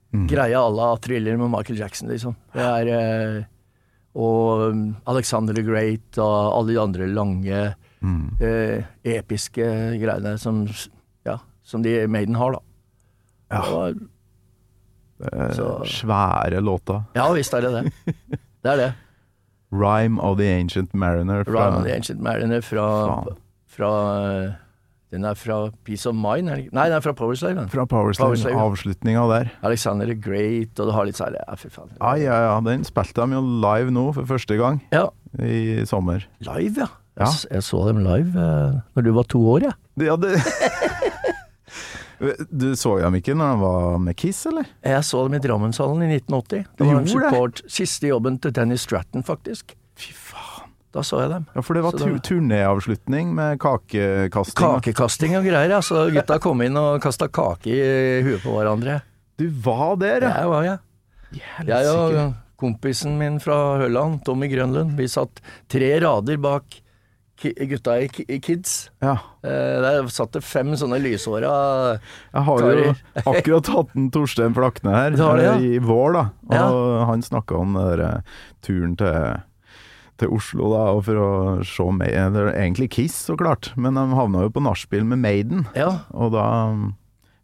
[SPEAKER 3] Mhm.
[SPEAKER 2] greie à la thriller med Michael Jackson, liksom. Det er eh, Og um, Alexander the Great og alle de andre lange, eh, episke greiene som Ja, som de Maiden har, da.
[SPEAKER 3] Ja.
[SPEAKER 2] Og,
[SPEAKER 3] Eh,
[SPEAKER 2] Så-
[SPEAKER 3] Svære låta.
[SPEAKER 2] ja visst er det det. Det er det.
[SPEAKER 3] 'Rhyme of the Ancient Mariner'. fra-
[SPEAKER 2] Rhyme of the Ancient Mariner fra,
[SPEAKER 3] Faen.
[SPEAKER 2] fra eh, Den er fra Peace of Mind? er det ikke? Nei, den er fra Power Slave. Den.
[SPEAKER 3] Fra Power Slave.
[SPEAKER 2] Power Slave, ja.
[SPEAKER 3] Avslutninga der.
[SPEAKER 2] Alexander the Great, og det har litt særlig Ja, fy faen.
[SPEAKER 3] Ja, ja, ja. Den spilte de jo live nå for første gang
[SPEAKER 2] Ja,
[SPEAKER 3] i sommer.
[SPEAKER 2] live, ja.
[SPEAKER 3] Ja.
[SPEAKER 2] Jeg, s- jeg så dem live uh, når du var to år, jeg.
[SPEAKER 3] Ja, det Du så dem ikke når de var med Kiss, eller?
[SPEAKER 2] Ja. Jeg så dem i Drammenshallen i 1980.
[SPEAKER 3] Du
[SPEAKER 2] Det var en
[SPEAKER 3] gjorde det?
[SPEAKER 2] support. Siste jobben til Dennis Stratton, faktisk.
[SPEAKER 3] Fy faen.
[SPEAKER 2] Da så jeg dem.
[SPEAKER 3] Ja, for det var
[SPEAKER 2] Så
[SPEAKER 3] tu
[SPEAKER 2] da-
[SPEAKER 3] turnéavslutning med kakekasting.
[SPEAKER 2] Kakekasting og greier, ja. Så gutta kom inn og kasta kake i huet på hverandre.
[SPEAKER 3] Du var der, ja!
[SPEAKER 2] Jeg var, jeg. Jeg og kompisen min fra Høland, Tommy Grønlund, vi satt tre rader bak ki gutta i, ki i Kids.
[SPEAKER 3] ja.
[SPEAKER 2] Eh, der satt det fem sånne lyshåra
[SPEAKER 3] Jeg har jo
[SPEAKER 2] Karer.
[SPEAKER 3] akkurat hatt en Torstein Flakne her
[SPEAKER 2] Du har det, ja.
[SPEAKER 3] eh, i vår, da. Og han snakka om den der eh, turen til, til Oslo, da, og for å se Maiden. Det er egentlig Kiss, så klart, men de havna jo på nachspiel med Maiden.
[SPEAKER 2] Ja,
[SPEAKER 3] Og da mm,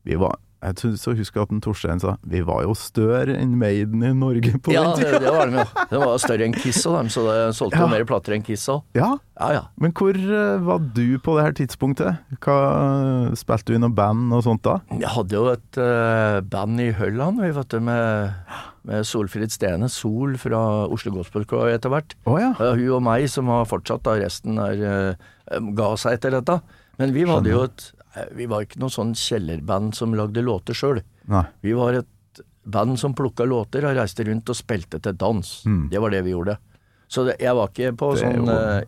[SPEAKER 3] Vi var jeg tror- så husker jeg at den Torstein sa vi var jo større enn Maiden i Norge på
[SPEAKER 2] ja
[SPEAKER 3] den
[SPEAKER 2] det,
[SPEAKER 3] tida.
[SPEAKER 2] det var de jo. De var jo større enn Kiss og dem, så det solgte
[SPEAKER 3] Ja.
[SPEAKER 2] jo mer plater enn Kiss òg.
[SPEAKER 3] Ja,
[SPEAKER 2] Ja ja.
[SPEAKER 3] men hvor eh, var du på det her tidspunktet? Hva, spilte du i noe band og sånt da?
[SPEAKER 2] Jeg hadde jo et eh, band i Høland, vi, vet du, med, med Solfrid Stene, Sol fra Oslo Gospel Choir etter hvert.
[SPEAKER 3] Å ja.
[SPEAKER 2] Ja, hun og meg som har fortsatt, da resten er, eh, ga seg etter dette. Men vi hadde jo et eh, Vi var ikke noe sånn kjellerband som lagde låter sjøl.
[SPEAKER 3] Nei.
[SPEAKER 2] Vi var et band som plukka låter og reiste rundt og spilte til dans. Det var det vi gjorde. Så det, jeg var ikke på
[SPEAKER 3] Det er
[SPEAKER 2] sånn
[SPEAKER 3] jo-
[SPEAKER 2] eh,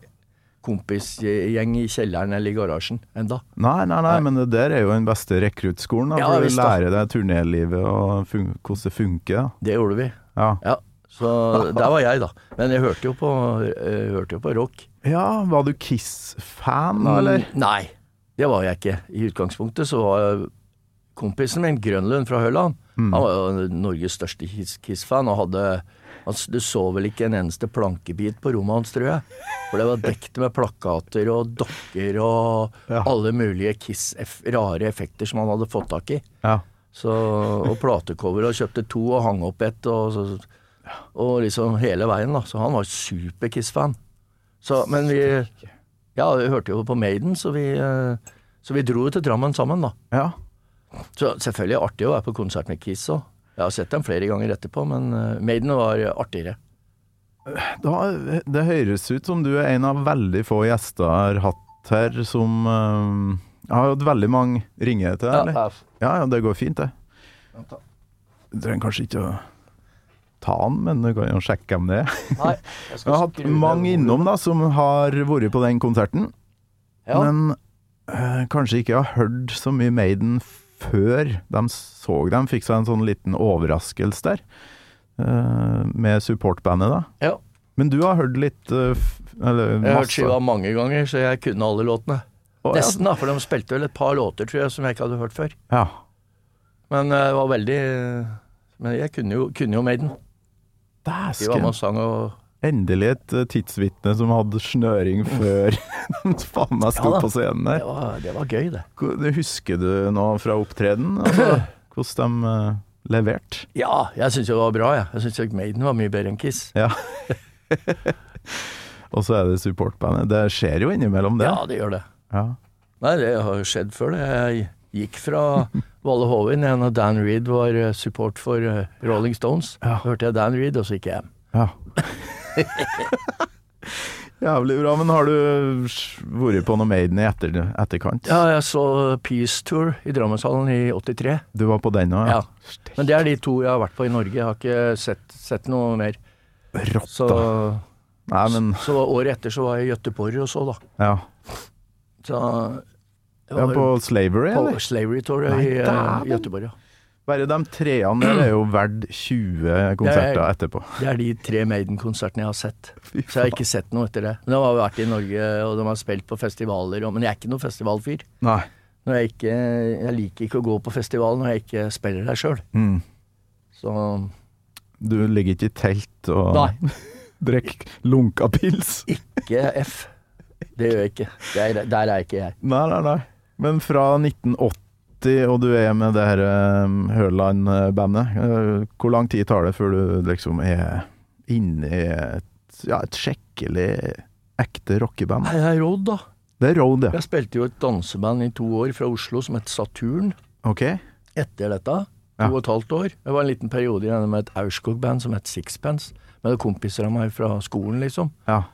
[SPEAKER 2] kompisgjeng i kjelleren eller i garasjen enda.
[SPEAKER 3] Nei, nei, nei, men det der er jo den beste rekruttskolen. da,
[SPEAKER 2] Ja,
[SPEAKER 3] For du
[SPEAKER 2] visst da.
[SPEAKER 3] lærer deg turnélivet og fun hvordan det funker.
[SPEAKER 2] Det gjorde vi.
[SPEAKER 3] da. Ja.
[SPEAKER 2] Ja. Så der var jeg, da. Men jeg hørte jo på, eh, hørte jo på rock.
[SPEAKER 3] ja, var du Kiss-fan, eller?
[SPEAKER 2] Nei, det var jeg ikke. I utgangspunktet så var kompisen min, Grønlund fra Høland,
[SPEAKER 3] Mm.
[SPEAKER 2] han var jo Norges største Kiss- Kiss-fan og hadde altså, Du så vel ikke en eneste plankebit på rommet hans, tror jeg. For det var dekt med plakater og dokker og
[SPEAKER 3] Ja.
[SPEAKER 2] alle mulige Kiss eff- rare effekter som han hadde fått tak i.
[SPEAKER 3] Ja.
[SPEAKER 2] Så, og platecover, og kjøpte to og hang opp ett, og, så, og liksom hele veien, da. Så han var super Kiss-fan. Så, men vi Ja, vi hørte jo på Maiden, så vi, eh, så vi dro jo til Drammen sammen, da.
[SPEAKER 3] ja.
[SPEAKER 2] Så selvfølgelig artig å være på konsert med Kiss òg. Jeg har sett dem flere ganger etterpå, men eh, Maiden var artigere.
[SPEAKER 3] Da, det høres ut som du er en av veldig få gjester jeg har hatt her som eh, Jeg har hatt veldig mange ringer til deg, eller? Ja, ja, det går fint, det. Du trenger kanskje ikke å ta den, men du kan jo sjekke om det er.
[SPEAKER 2] Nei, jeg
[SPEAKER 3] Jeg har hatt mange innom da, som har vært på den konserten.
[SPEAKER 2] Ja.
[SPEAKER 3] Men eh, kanskje ikke har hørt så mye Maiden før de så dem. Fikk seg en sånn liten overraskelse der, eh, med supportbandet, da.
[SPEAKER 2] Ja,
[SPEAKER 3] Men du har hørt litt eh, f- Eller
[SPEAKER 2] jeg har hørt skiva mange ganger, så jeg kunne alle låtene.
[SPEAKER 3] Å, ja.
[SPEAKER 2] Nesten, da, for de spilte vel et par låter, tror jeg, som jeg ikke hadde hørt før.
[SPEAKER 3] Ja.
[SPEAKER 2] Men eh, det var veldig Men jeg kunne jo, kunne jo Maiden. De var med
[SPEAKER 3] Dæsken.
[SPEAKER 2] og sang og
[SPEAKER 3] Endelig et eh, tidsvitne som hadde snøring før de faen meg sto
[SPEAKER 2] Ja da.
[SPEAKER 3] på scenen
[SPEAKER 2] Det
[SPEAKER 3] der.
[SPEAKER 2] var, det var gøy, det.
[SPEAKER 3] Hvor- det Husker du noe fra opptredenen? Altså, hvordan de eh, leverte?
[SPEAKER 2] Ja, jeg syns det var bra, jeg. Jeg syns Maiden var mye bedre enn Kiss.
[SPEAKER 3] Ja. og så er det supportbandet. Det skjer jo innimellom, det.
[SPEAKER 2] Ja, det gjør det.
[SPEAKER 3] Ja.
[SPEAKER 2] Nei, det har jo skjedd før, det. Jeg gikk fra Valle Hovin igjen da Dan Reed var eh, support for eh, Rolling Stones.
[SPEAKER 3] Ja.
[SPEAKER 2] Hørte jeg Dan Reed, og så gikk jeg hjem.
[SPEAKER 3] Ja. Jævlig bra. Men har du s- vært på noe Maiden i etter, etterkant?
[SPEAKER 2] Ja, jeg så Peace Tour i Drammenshallen i 83.
[SPEAKER 3] Du var på den òg?
[SPEAKER 2] Ja. Men det er de to jeg har vært på i Norge. Jeg har ikke sett, sett noe mer.
[SPEAKER 3] Rått,
[SPEAKER 2] Så,
[SPEAKER 3] da. Nei, men
[SPEAKER 2] så året etter så var jeg i Göteborg og så, da.
[SPEAKER 3] ja.
[SPEAKER 2] Så det
[SPEAKER 3] ja.
[SPEAKER 2] var-
[SPEAKER 3] På Slavery,
[SPEAKER 2] På
[SPEAKER 3] eller?
[SPEAKER 2] Slavery Tour i
[SPEAKER 3] Nei,
[SPEAKER 2] eh,
[SPEAKER 3] dæven.
[SPEAKER 2] Göteborg, ja.
[SPEAKER 3] Bare de treene der er jo verdt 20 konserter
[SPEAKER 2] Jeg-
[SPEAKER 3] etterpå.
[SPEAKER 2] Det er de tre Maiden-konsertene jeg har sett. Så jeg har ikke sett noe etter det. Men de har vært i Norge, og de har spilt på festivaler, og, men jeg er ikke noen festivalfyr.
[SPEAKER 3] Nei.
[SPEAKER 2] Når jeg, ikke, jeg liker ikke å gå på festival når jeg ikke spiller der sjøl.
[SPEAKER 3] Mm.
[SPEAKER 2] Så
[SPEAKER 3] Du ligger ikke i telt og
[SPEAKER 2] Nei.
[SPEAKER 3] drikker lunka pils?
[SPEAKER 2] ikke F. Det gjør jeg ikke. Der, der er ikke jeg.
[SPEAKER 3] Nei, nei, nei. Men fra 1980, og du er med det her um, Hørland-bandet, eh, hvor lang tid tar det før du liksom er inne i et, ja, et skikkelig ekte rockeband?
[SPEAKER 2] Nei, det er Road, da.
[SPEAKER 3] Det er Road, ja.
[SPEAKER 2] Jeg spilte jo et danseband i to år fra Oslo som het Saturn.
[SPEAKER 3] Ok?
[SPEAKER 2] Etter dette, to
[SPEAKER 3] Ja.
[SPEAKER 2] og et halvt år. Det var en liten periode igjen med et Aurskog-band som het Sixpence. Med kompiser av meg fra skolen, liksom.
[SPEAKER 3] Ja.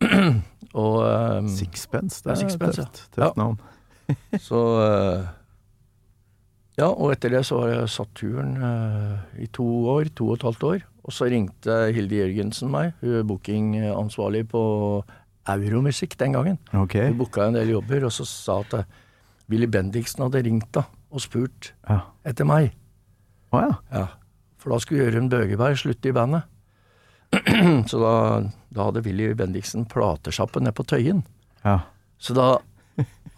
[SPEAKER 2] Og eh,
[SPEAKER 3] Sixpence,
[SPEAKER 2] Ja,
[SPEAKER 3] det er et
[SPEAKER 2] Sixpence, ja.
[SPEAKER 3] tøft, tøft navn.
[SPEAKER 2] Så eh, Ja, og etter det så var jeg Saturn eh, i to år, to og et halvt år. Og så ringte Hilde Jørgensen meg, hun er bookingansvarlig på Euromusikk den gangen.
[SPEAKER 3] Ok.
[SPEAKER 2] Hun booka en del jobber, og så sa at eh, Willy Bendiksen hadde ringt da og spurt
[SPEAKER 3] Ja.
[SPEAKER 2] etter meg.
[SPEAKER 3] Å ja.
[SPEAKER 2] Ja, for da skulle Jørund Bøgeberg slutte i bandet. så da, da hadde Willy Bendiksen platesjappe nede på Tøyen.
[SPEAKER 3] ja.
[SPEAKER 2] Så da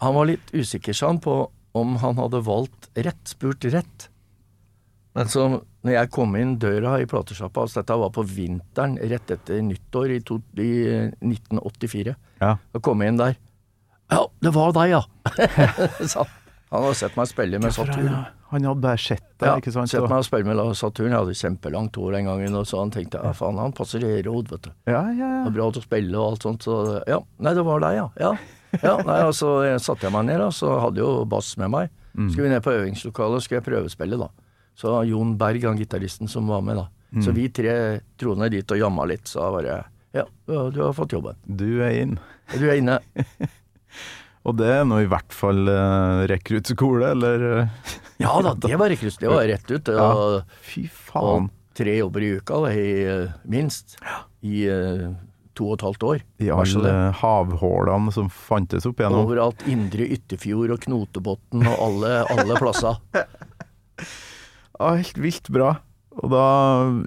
[SPEAKER 2] Han var litt usikker, sa han, på om han hadde valgt rett, spurt rett. Men så, når jeg kom inn døra i platesjappa altså Dette var på vinteren rett etter nyttår i, to, i eh, 1984.
[SPEAKER 3] Ja.
[SPEAKER 2] Da kom jeg inn der. Ja, det var deg, ja! sa han. Han hadde sett meg spille med Saturn.
[SPEAKER 3] Han hadde bare sett deg,
[SPEAKER 2] Ja,
[SPEAKER 3] ikke sant?
[SPEAKER 2] sett
[SPEAKER 3] Og-
[SPEAKER 2] meg og spille med Saturn. Jeg hadde kjempelangt hår den gangen, og så han tenkte ja, faen, han passer i råd, vet du.
[SPEAKER 3] Ja, ja,
[SPEAKER 2] Det
[SPEAKER 3] ja.
[SPEAKER 2] er bra til å spille og alt sånt. Så ja, nei, det var deg, ja. ja. ja nei, og så eh, satte jeg meg ned, da, så hadde jeg jo bass med meg. Skulle vi ned på øvingslokalet, skulle jeg prøvespille, da. Så Jon Berg, han gitaristen som var med, da. Så vi tre dro ned dit og jamma litt, så jeg bare Ja, du har fått jobben.
[SPEAKER 3] Du er inn.
[SPEAKER 2] Du er inne.
[SPEAKER 3] Og det er nå i hvert fall uh, rekruttskole, eller eh,
[SPEAKER 2] Ja da, det var rekrutt. Det var rett ut.
[SPEAKER 3] Ja.
[SPEAKER 2] Og,
[SPEAKER 3] Fy
[SPEAKER 2] og
[SPEAKER 3] faen.
[SPEAKER 2] tre jobber i uka, da, i, eh, minst, i eh, to og et halvt år.
[SPEAKER 3] I
[SPEAKER 2] Vær så
[SPEAKER 3] alle havhålene som fantes opp igjennom.
[SPEAKER 2] Overalt. Indre Ytterfjord og Knotebotn og alle, alle plasser.
[SPEAKER 3] Ja, helt vilt bra. Og da,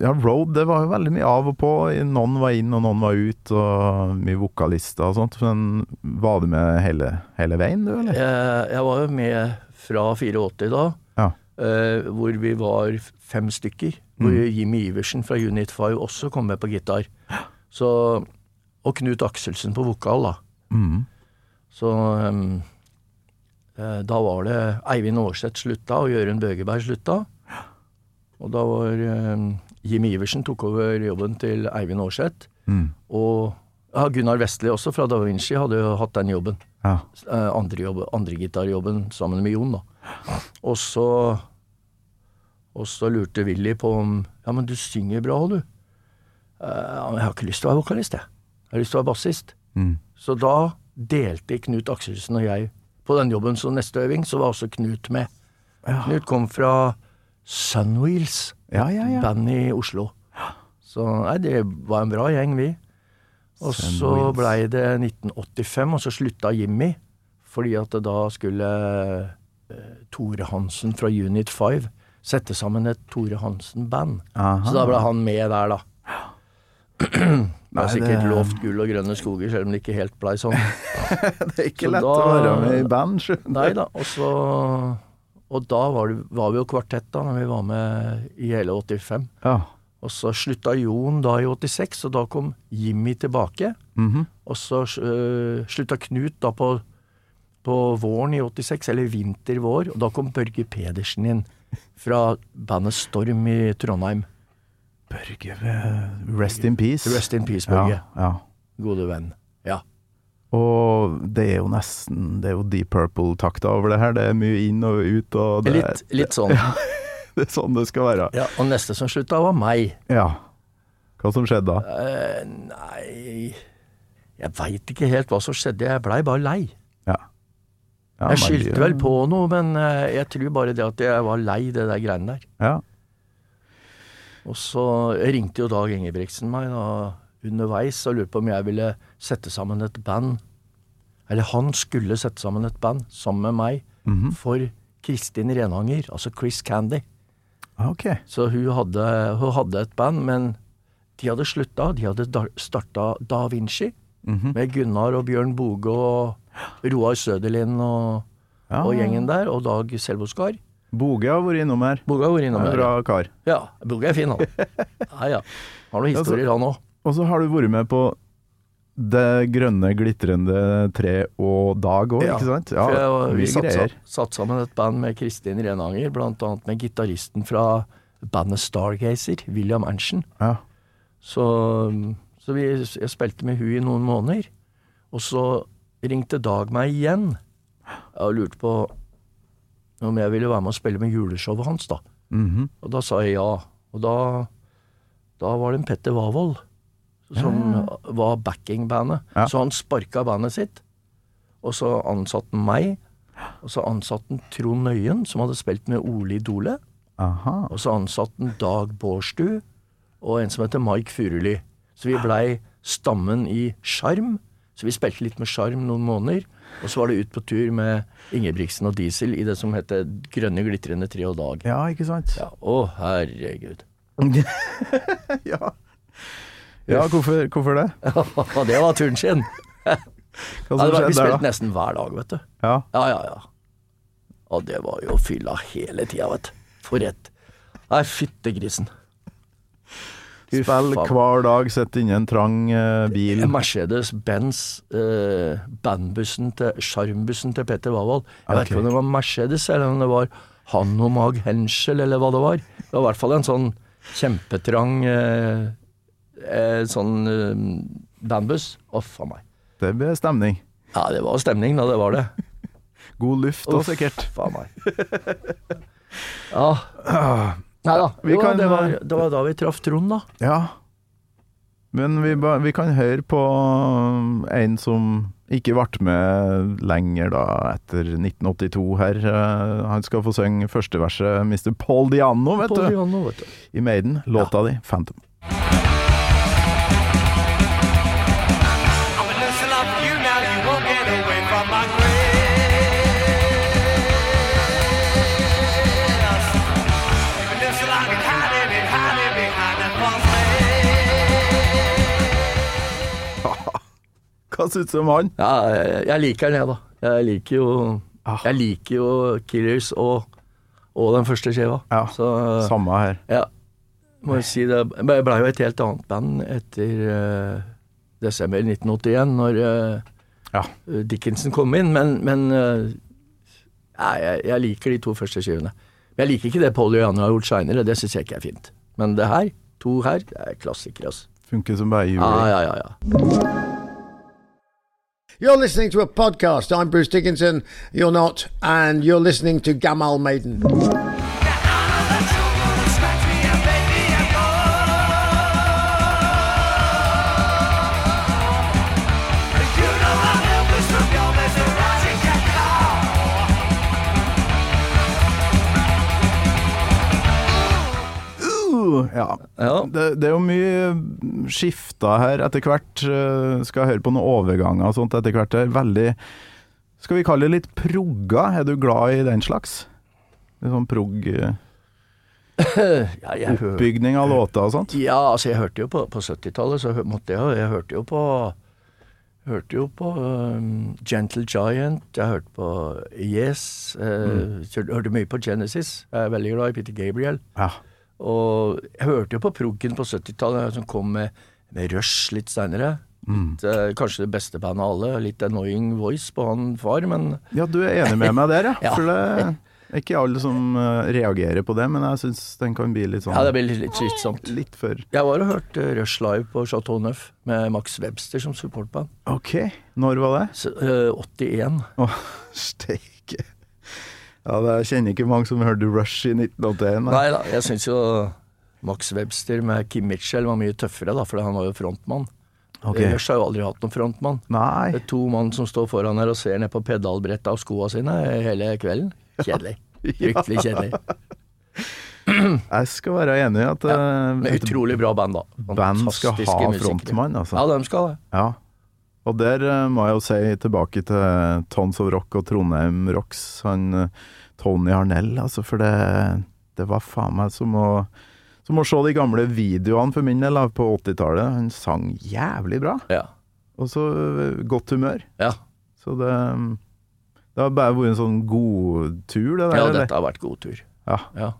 [SPEAKER 3] ja, Road, det var jo veldig mye av og på. Noen var inn, og noen var ut, og mye vokalister og sånt. Men var du med hele, hele veien, du, eller?
[SPEAKER 2] Eh, Jeg var jo med fra 84 da,
[SPEAKER 3] Ja.
[SPEAKER 2] eh, hvor vi var fem stykker. Hvor
[SPEAKER 3] Mm.
[SPEAKER 2] Jimmy Iversen fra Unit 5 også kom med på gitar. Så, og Knut Akselsen på vokal, da.
[SPEAKER 3] Mm.
[SPEAKER 2] Så ehm, eh, da var det Eivind Aarseth slutta, og Jørund Bøgeberg slutta. Og da var ehm, Jimmy Iversen tok over jobben til Eivind Aarseth.
[SPEAKER 3] Mm.
[SPEAKER 2] Og ja, Gunnar Vestli også, fra Da Vinci, hadde jo hatt den jobben.
[SPEAKER 3] Ja.
[SPEAKER 2] Eh, andre jobb, andre gitarjobben sammen med Jon, da. Og så Og så lurte Willy på om Ja, men du synger bra, du. Eh, ja, men jeg har ikke lyst til å være vokalist, jeg. Jeg har lyst til å være bassist.
[SPEAKER 3] Mm.
[SPEAKER 2] Så da delte Knut Akselsen og jeg på den jobben, så neste øving så var også Knut med. Knut kom fra Sunwheels,
[SPEAKER 3] ja, ja, ja.
[SPEAKER 2] band i Oslo. Så nei, det var en bra gjeng, vi. Og så
[SPEAKER 3] Sunwheels.
[SPEAKER 2] blei det 1985, og så slutta Jimmy. Fordi at da skulle eh, Tore Hansen fra Unit 5 sette sammen et Tore Hansen-band.
[SPEAKER 3] Aha.
[SPEAKER 2] Så da ble han med der, da. Det
[SPEAKER 3] Nei,
[SPEAKER 2] er sikkert
[SPEAKER 3] det-
[SPEAKER 2] lovt gull og grønne skoger, selv om det ikke helt blei sånn.
[SPEAKER 3] Det er ikke
[SPEAKER 2] Så
[SPEAKER 3] lett
[SPEAKER 2] da-
[SPEAKER 3] å være med i band, skjønner
[SPEAKER 2] Nei da, og så Og da var, det, var vi jo kvartett da, når vi var med i hele 85.
[SPEAKER 3] Ja.
[SPEAKER 2] Og så slutta Jon da i 86, og da kom Jimmy tilbake.
[SPEAKER 3] Mhm.
[SPEAKER 2] Og så øh, slutta Knut da på, på våren i 86, eller vinter-vår, og da kom Børge Pedersen inn. Fra bandet Storm i Trondheim.
[SPEAKER 3] Børge, eh, rest in peace.
[SPEAKER 2] Rest in peace, Børge.
[SPEAKER 3] ja, ja.
[SPEAKER 2] Gode venn. Ja.
[SPEAKER 3] Og det er jo nesten Det er jo Deep Purple-takta over det her. Det er mye inn og ut, og det,
[SPEAKER 2] Litt, litt sånn.
[SPEAKER 3] det er sånn det skal være.
[SPEAKER 2] Ja, og neste som slutta, var meg.
[SPEAKER 3] Ja. Hva som skjedde da?
[SPEAKER 2] Eh, nei Jeg veit ikke helt hva som skjedde, jeg blei bare lei.
[SPEAKER 3] Ja. Ja,
[SPEAKER 2] Jeg
[SPEAKER 3] Marie-
[SPEAKER 2] skyldte vel på noe, men eh, jeg tror bare det at jeg var lei det der greiene der.
[SPEAKER 3] Ja.
[SPEAKER 2] Og så ringte jo Dag Ingebrigtsen meg da, underveis og lurte på om jeg ville sette sammen et band. Eller han skulle sette sammen et band sammen med meg for Kristin Renhanger, altså Chris Candy.
[SPEAKER 3] Ah, Ok.
[SPEAKER 2] Så hun hadde, hun hadde et band, men de hadde slutta. De hadde da- starta Da Vinci,
[SPEAKER 3] Mhm.
[SPEAKER 2] med Gunnar og Bjørn Boge og Roar Søderlind og,
[SPEAKER 3] Ja.
[SPEAKER 2] og gjengen der, og Dag Selvoskar.
[SPEAKER 3] Boge har vært innom her.
[SPEAKER 2] Boge har vært innom
[SPEAKER 3] Han er
[SPEAKER 2] her.
[SPEAKER 3] en Bra kar.
[SPEAKER 2] Ja, Boge er fin, han. Ja, ja. Har noen historier, han òg.
[SPEAKER 3] Og så har du vært med på Det grønne glitrende tre og dag òg, ikke sant?
[SPEAKER 2] for jeg- vi
[SPEAKER 3] vi
[SPEAKER 2] satt,
[SPEAKER 3] greier.
[SPEAKER 2] sa- satt sammen et band med Kristin Renanger, blant annet med gitaristen fra bandet Stargazer, William Erntzen.
[SPEAKER 3] Ja.
[SPEAKER 2] Så, så vi, jeg spilte med hun i noen måneder. Og så ringte Dag meg igjen og lurte på om jeg ville være med og spille med juleshowet hans. da.
[SPEAKER 3] Mhm.
[SPEAKER 2] Og da sa jeg ja. Og da, da var det en Petter Wavold som var backingbandet.
[SPEAKER 3] Ja.
[SPEAKER 2] Så han sparka bandet sitt, og så ansatte han meg. Og så ansatte han Trond Nøyen, som hadde spilt med Ole Idole.
[SPEAKER 3] Aha.
[SPEAKER 2] Og så ansatte han Dag Bårdstu og en som heter Mike Furuli. Så vi blei stammen i Sjarm. Så vi spilte litt med Sjarm noen måneder. Og så var det ut på tur med Ingebrigtsen og Diesel i det som heter Grønne glitrende tre og dag.
[SPEAKER 3] Ja, ikke sant?
[SPEAKER 2] Ja, å, herregud.
[SPEAKER 3] Ja, ja hvorfor, hvorfor det?
[SPEAKER 2] det var turen sin!
[SPEAKER 3] Hva
[SPEAKER 2] Ja, det
[SPEAKER 3] som
[SPEAKER 2] var, vi
[SPEAKER 3] skjedde
[SPEAKER 2] spilte
[SPEAKER 3] der, da?
[SPEAKER 2] nesten hver dag, vet du.
[SPEAKER 3] Ja.
[SPEAKER 2] Ja, ja, ja. Og det var jo fylla hele tida, vet du. For et Nei, fyttegrisen. Fy
[SPEAKER 3] Spill
[SPEAKER 2] faen.
[SPEAKER 3] hver dag, sitt inni en trang eh, bil.
[SPEAKER 2] Mercedes-Benz, eh, bandbussen til Sjarmbussen til Petter Wavold. Jeg vet
[SPEAKER 3] Ok.
[SPEAKER 2] ikke om det var Mercedes, eller om det var Hanomag Henschel, eller hva det var. Det var i hvert fall en sånn kjempetrang eh, eh, sånn eh, bandbuss. Å, faen meg.
[SPEAKER 3] Det ble stemning.
[SPEAKER 2] Ja, det var stemning da, det var det.
[SPEAKER 3] God luft òg, sikkert.
[SPEAKER 2] Faen meg. Ja. Nei da.
[SPEAKER 3] Vi
[SPEAKER 2] Jo,
[SPEAKER 3] kan- eh,
[SPEAKER 2] det, var, det var da vi traff Trond, da.
[SPEAKER 3] Ja. Men vi, ba- vi kan høre på um, en som ikke ble med lenger da, etter 1982 her. Eh, Han skal få synge første verset, Mr. Paul Diano, vet
[SPEAKER 2] På
[SPEAKER 3] du.
[SPEAKER 2] Diano, vet du.
[SPEAKER 3] I Maiden. Låta di, Phantom.
[SPEAKER 4] I'm a nursing up you now, you won't get away from my grace. I'm a nursing up and hiding and hiding behind that false
[SPEAKER 3] Hva syns du om han?
[SPEAKER 2] Ja, jeg- jeg liker den, jeg, da. Jeg liker jo,
[SPEAKER 3] Ah.
[SPEAKER 2] jeg liker jo Killers og, og den første skiva.
[SPEAKER 3] Ja,
[SPEAKER 2] Så
[SPEAKER 3] Samme her.
[SPEAKER 2] ja, må jo si det. Men Jeg blei jo et helt annet band etter eh, desember 1981, når
[SPEAKER 3] Ja.
[SPEAKER 2] eh, Dickinson kom inn, men, men eh, nei, jeg, jeg liker de to første skivene. Men jeg liker ikke det Polly og Janne har gjort seinere, det syns jeg ikke er fint. Men det her, to her, det er klassikere, altså.
[SPEAKER 3] Funker som bare jul.
[SPEAKER 2] Ja, ja, ja. ja.
[SPEAKER 6] You're listening to a podcast. I'm Bruce Dickinson. You're not, and you're listening to Gamal Maiden.
[SPEAKER 3] Uh, ja.
[SPEAKER 2] Ja.
[SPEAKER 3] Det, det er jo mye skifta her etter hvert. Eh, Skal høre på noen overganger og sånt etter hvert. Det er veldig Skal vi kalle det litt progga? Er du glad i den slags? Litt sånn prog-oppbygning
[SPEAKER 2] ja jeg hører
[SPEAKER 3] av låter og sånt?
[SPEAKER 2] Ja, altså jeg hørte jo på, på 70-tallet, så hø- måtte jeg jo Jeg hørte jo på Hørte jo på um, Gentle Giant, jeg hørte på Yes, eh, så hørte mye på Genesis. Jeg er veldig glad i Peter Gabriel.
[SPEAKER 3] Ja.
[SPEAKER 2] Og jeg hørte jo på proggen på 70-tallet, som kom med, med Rush litt seinere. Kanskje det beste bandet av alle. Litt annoying voice på han far, men
[SPEAKER 3] ja, du er enig med meg der, ja.
[SPEAKER 2] Ja.
[SPEAKER 3] For det er ikke alle som eh, reagerer på det, men jeg syns den kan bli litt sånn
[SPEAKER 2] ja, det blir litt slitsomt.
[SPEAKER 3] Litt for
[SPEAKER 2] Jeg var og hørte eh, Rush live på Chateau Neuf med Max Webster som supportband.
[SPEAKER 3] OK, når var det?
[SPEAKER 2] Så, eh, 81.
[SPEAKER 3] Åh, steike. Ja, det- jeg kjenner ikke mange som hørte Rush i 1981. nei.
[SPEAKER 2] Nei da, jeg syns jo Max Webster med Kim Mitchell var mye tøffere, da, for han var jo frontmann.
[SPEAKER 3] Ok.
[SPEAKER 2] Ellers har jeg jo aldri hatt noen frontmann. Det
[SPEAKER 3] Nei.
[SPEAKER 2] er to mann som står foran her og ser ned på pedalbrettet av skoa sine hele kvelden. Kjedelig. Fryktelig kjedelig.
[SPEAKER 3] Jeg skal være enig i at
[SPEAKER 2] Men
[SPEAKER 3] eh,
[SPEAKER 2] utrolig bra band, da.
[SPEAKER 3] band skal
[SPEAKER 2] Fantastiske
[SPEAKER 3] ha
[SPEAKER 2] musikere.
[SPEAKER 3] frontmann, altså.
[SPEAKER 2] Ja, de skal det.
[SPEAKER 3] Ja. Og der eh, må jeg jo si tilbake til Tons of Rock og Trondheim Rocks, han eh, Tony Harnell, altså, for det, Det var faen meg som å som å se de gamle videoene for min del da, på 80-tallet. Han sang jævlig bra,
[SPEAKER 2] Ja.
[SPEAKER 3] og så øh, godt humør.
[SPEAKER 2] Ja,
[SPEAKER 3] Så det Det har bare vært en sånn god tur, det der.
[SPEAKER 2] ja
[SPEAKER 3] eller?
[SPEAKER 2] dette har vært god tur.
[SPEAKER 3] Ja.
[SPEAKER 2] Ja.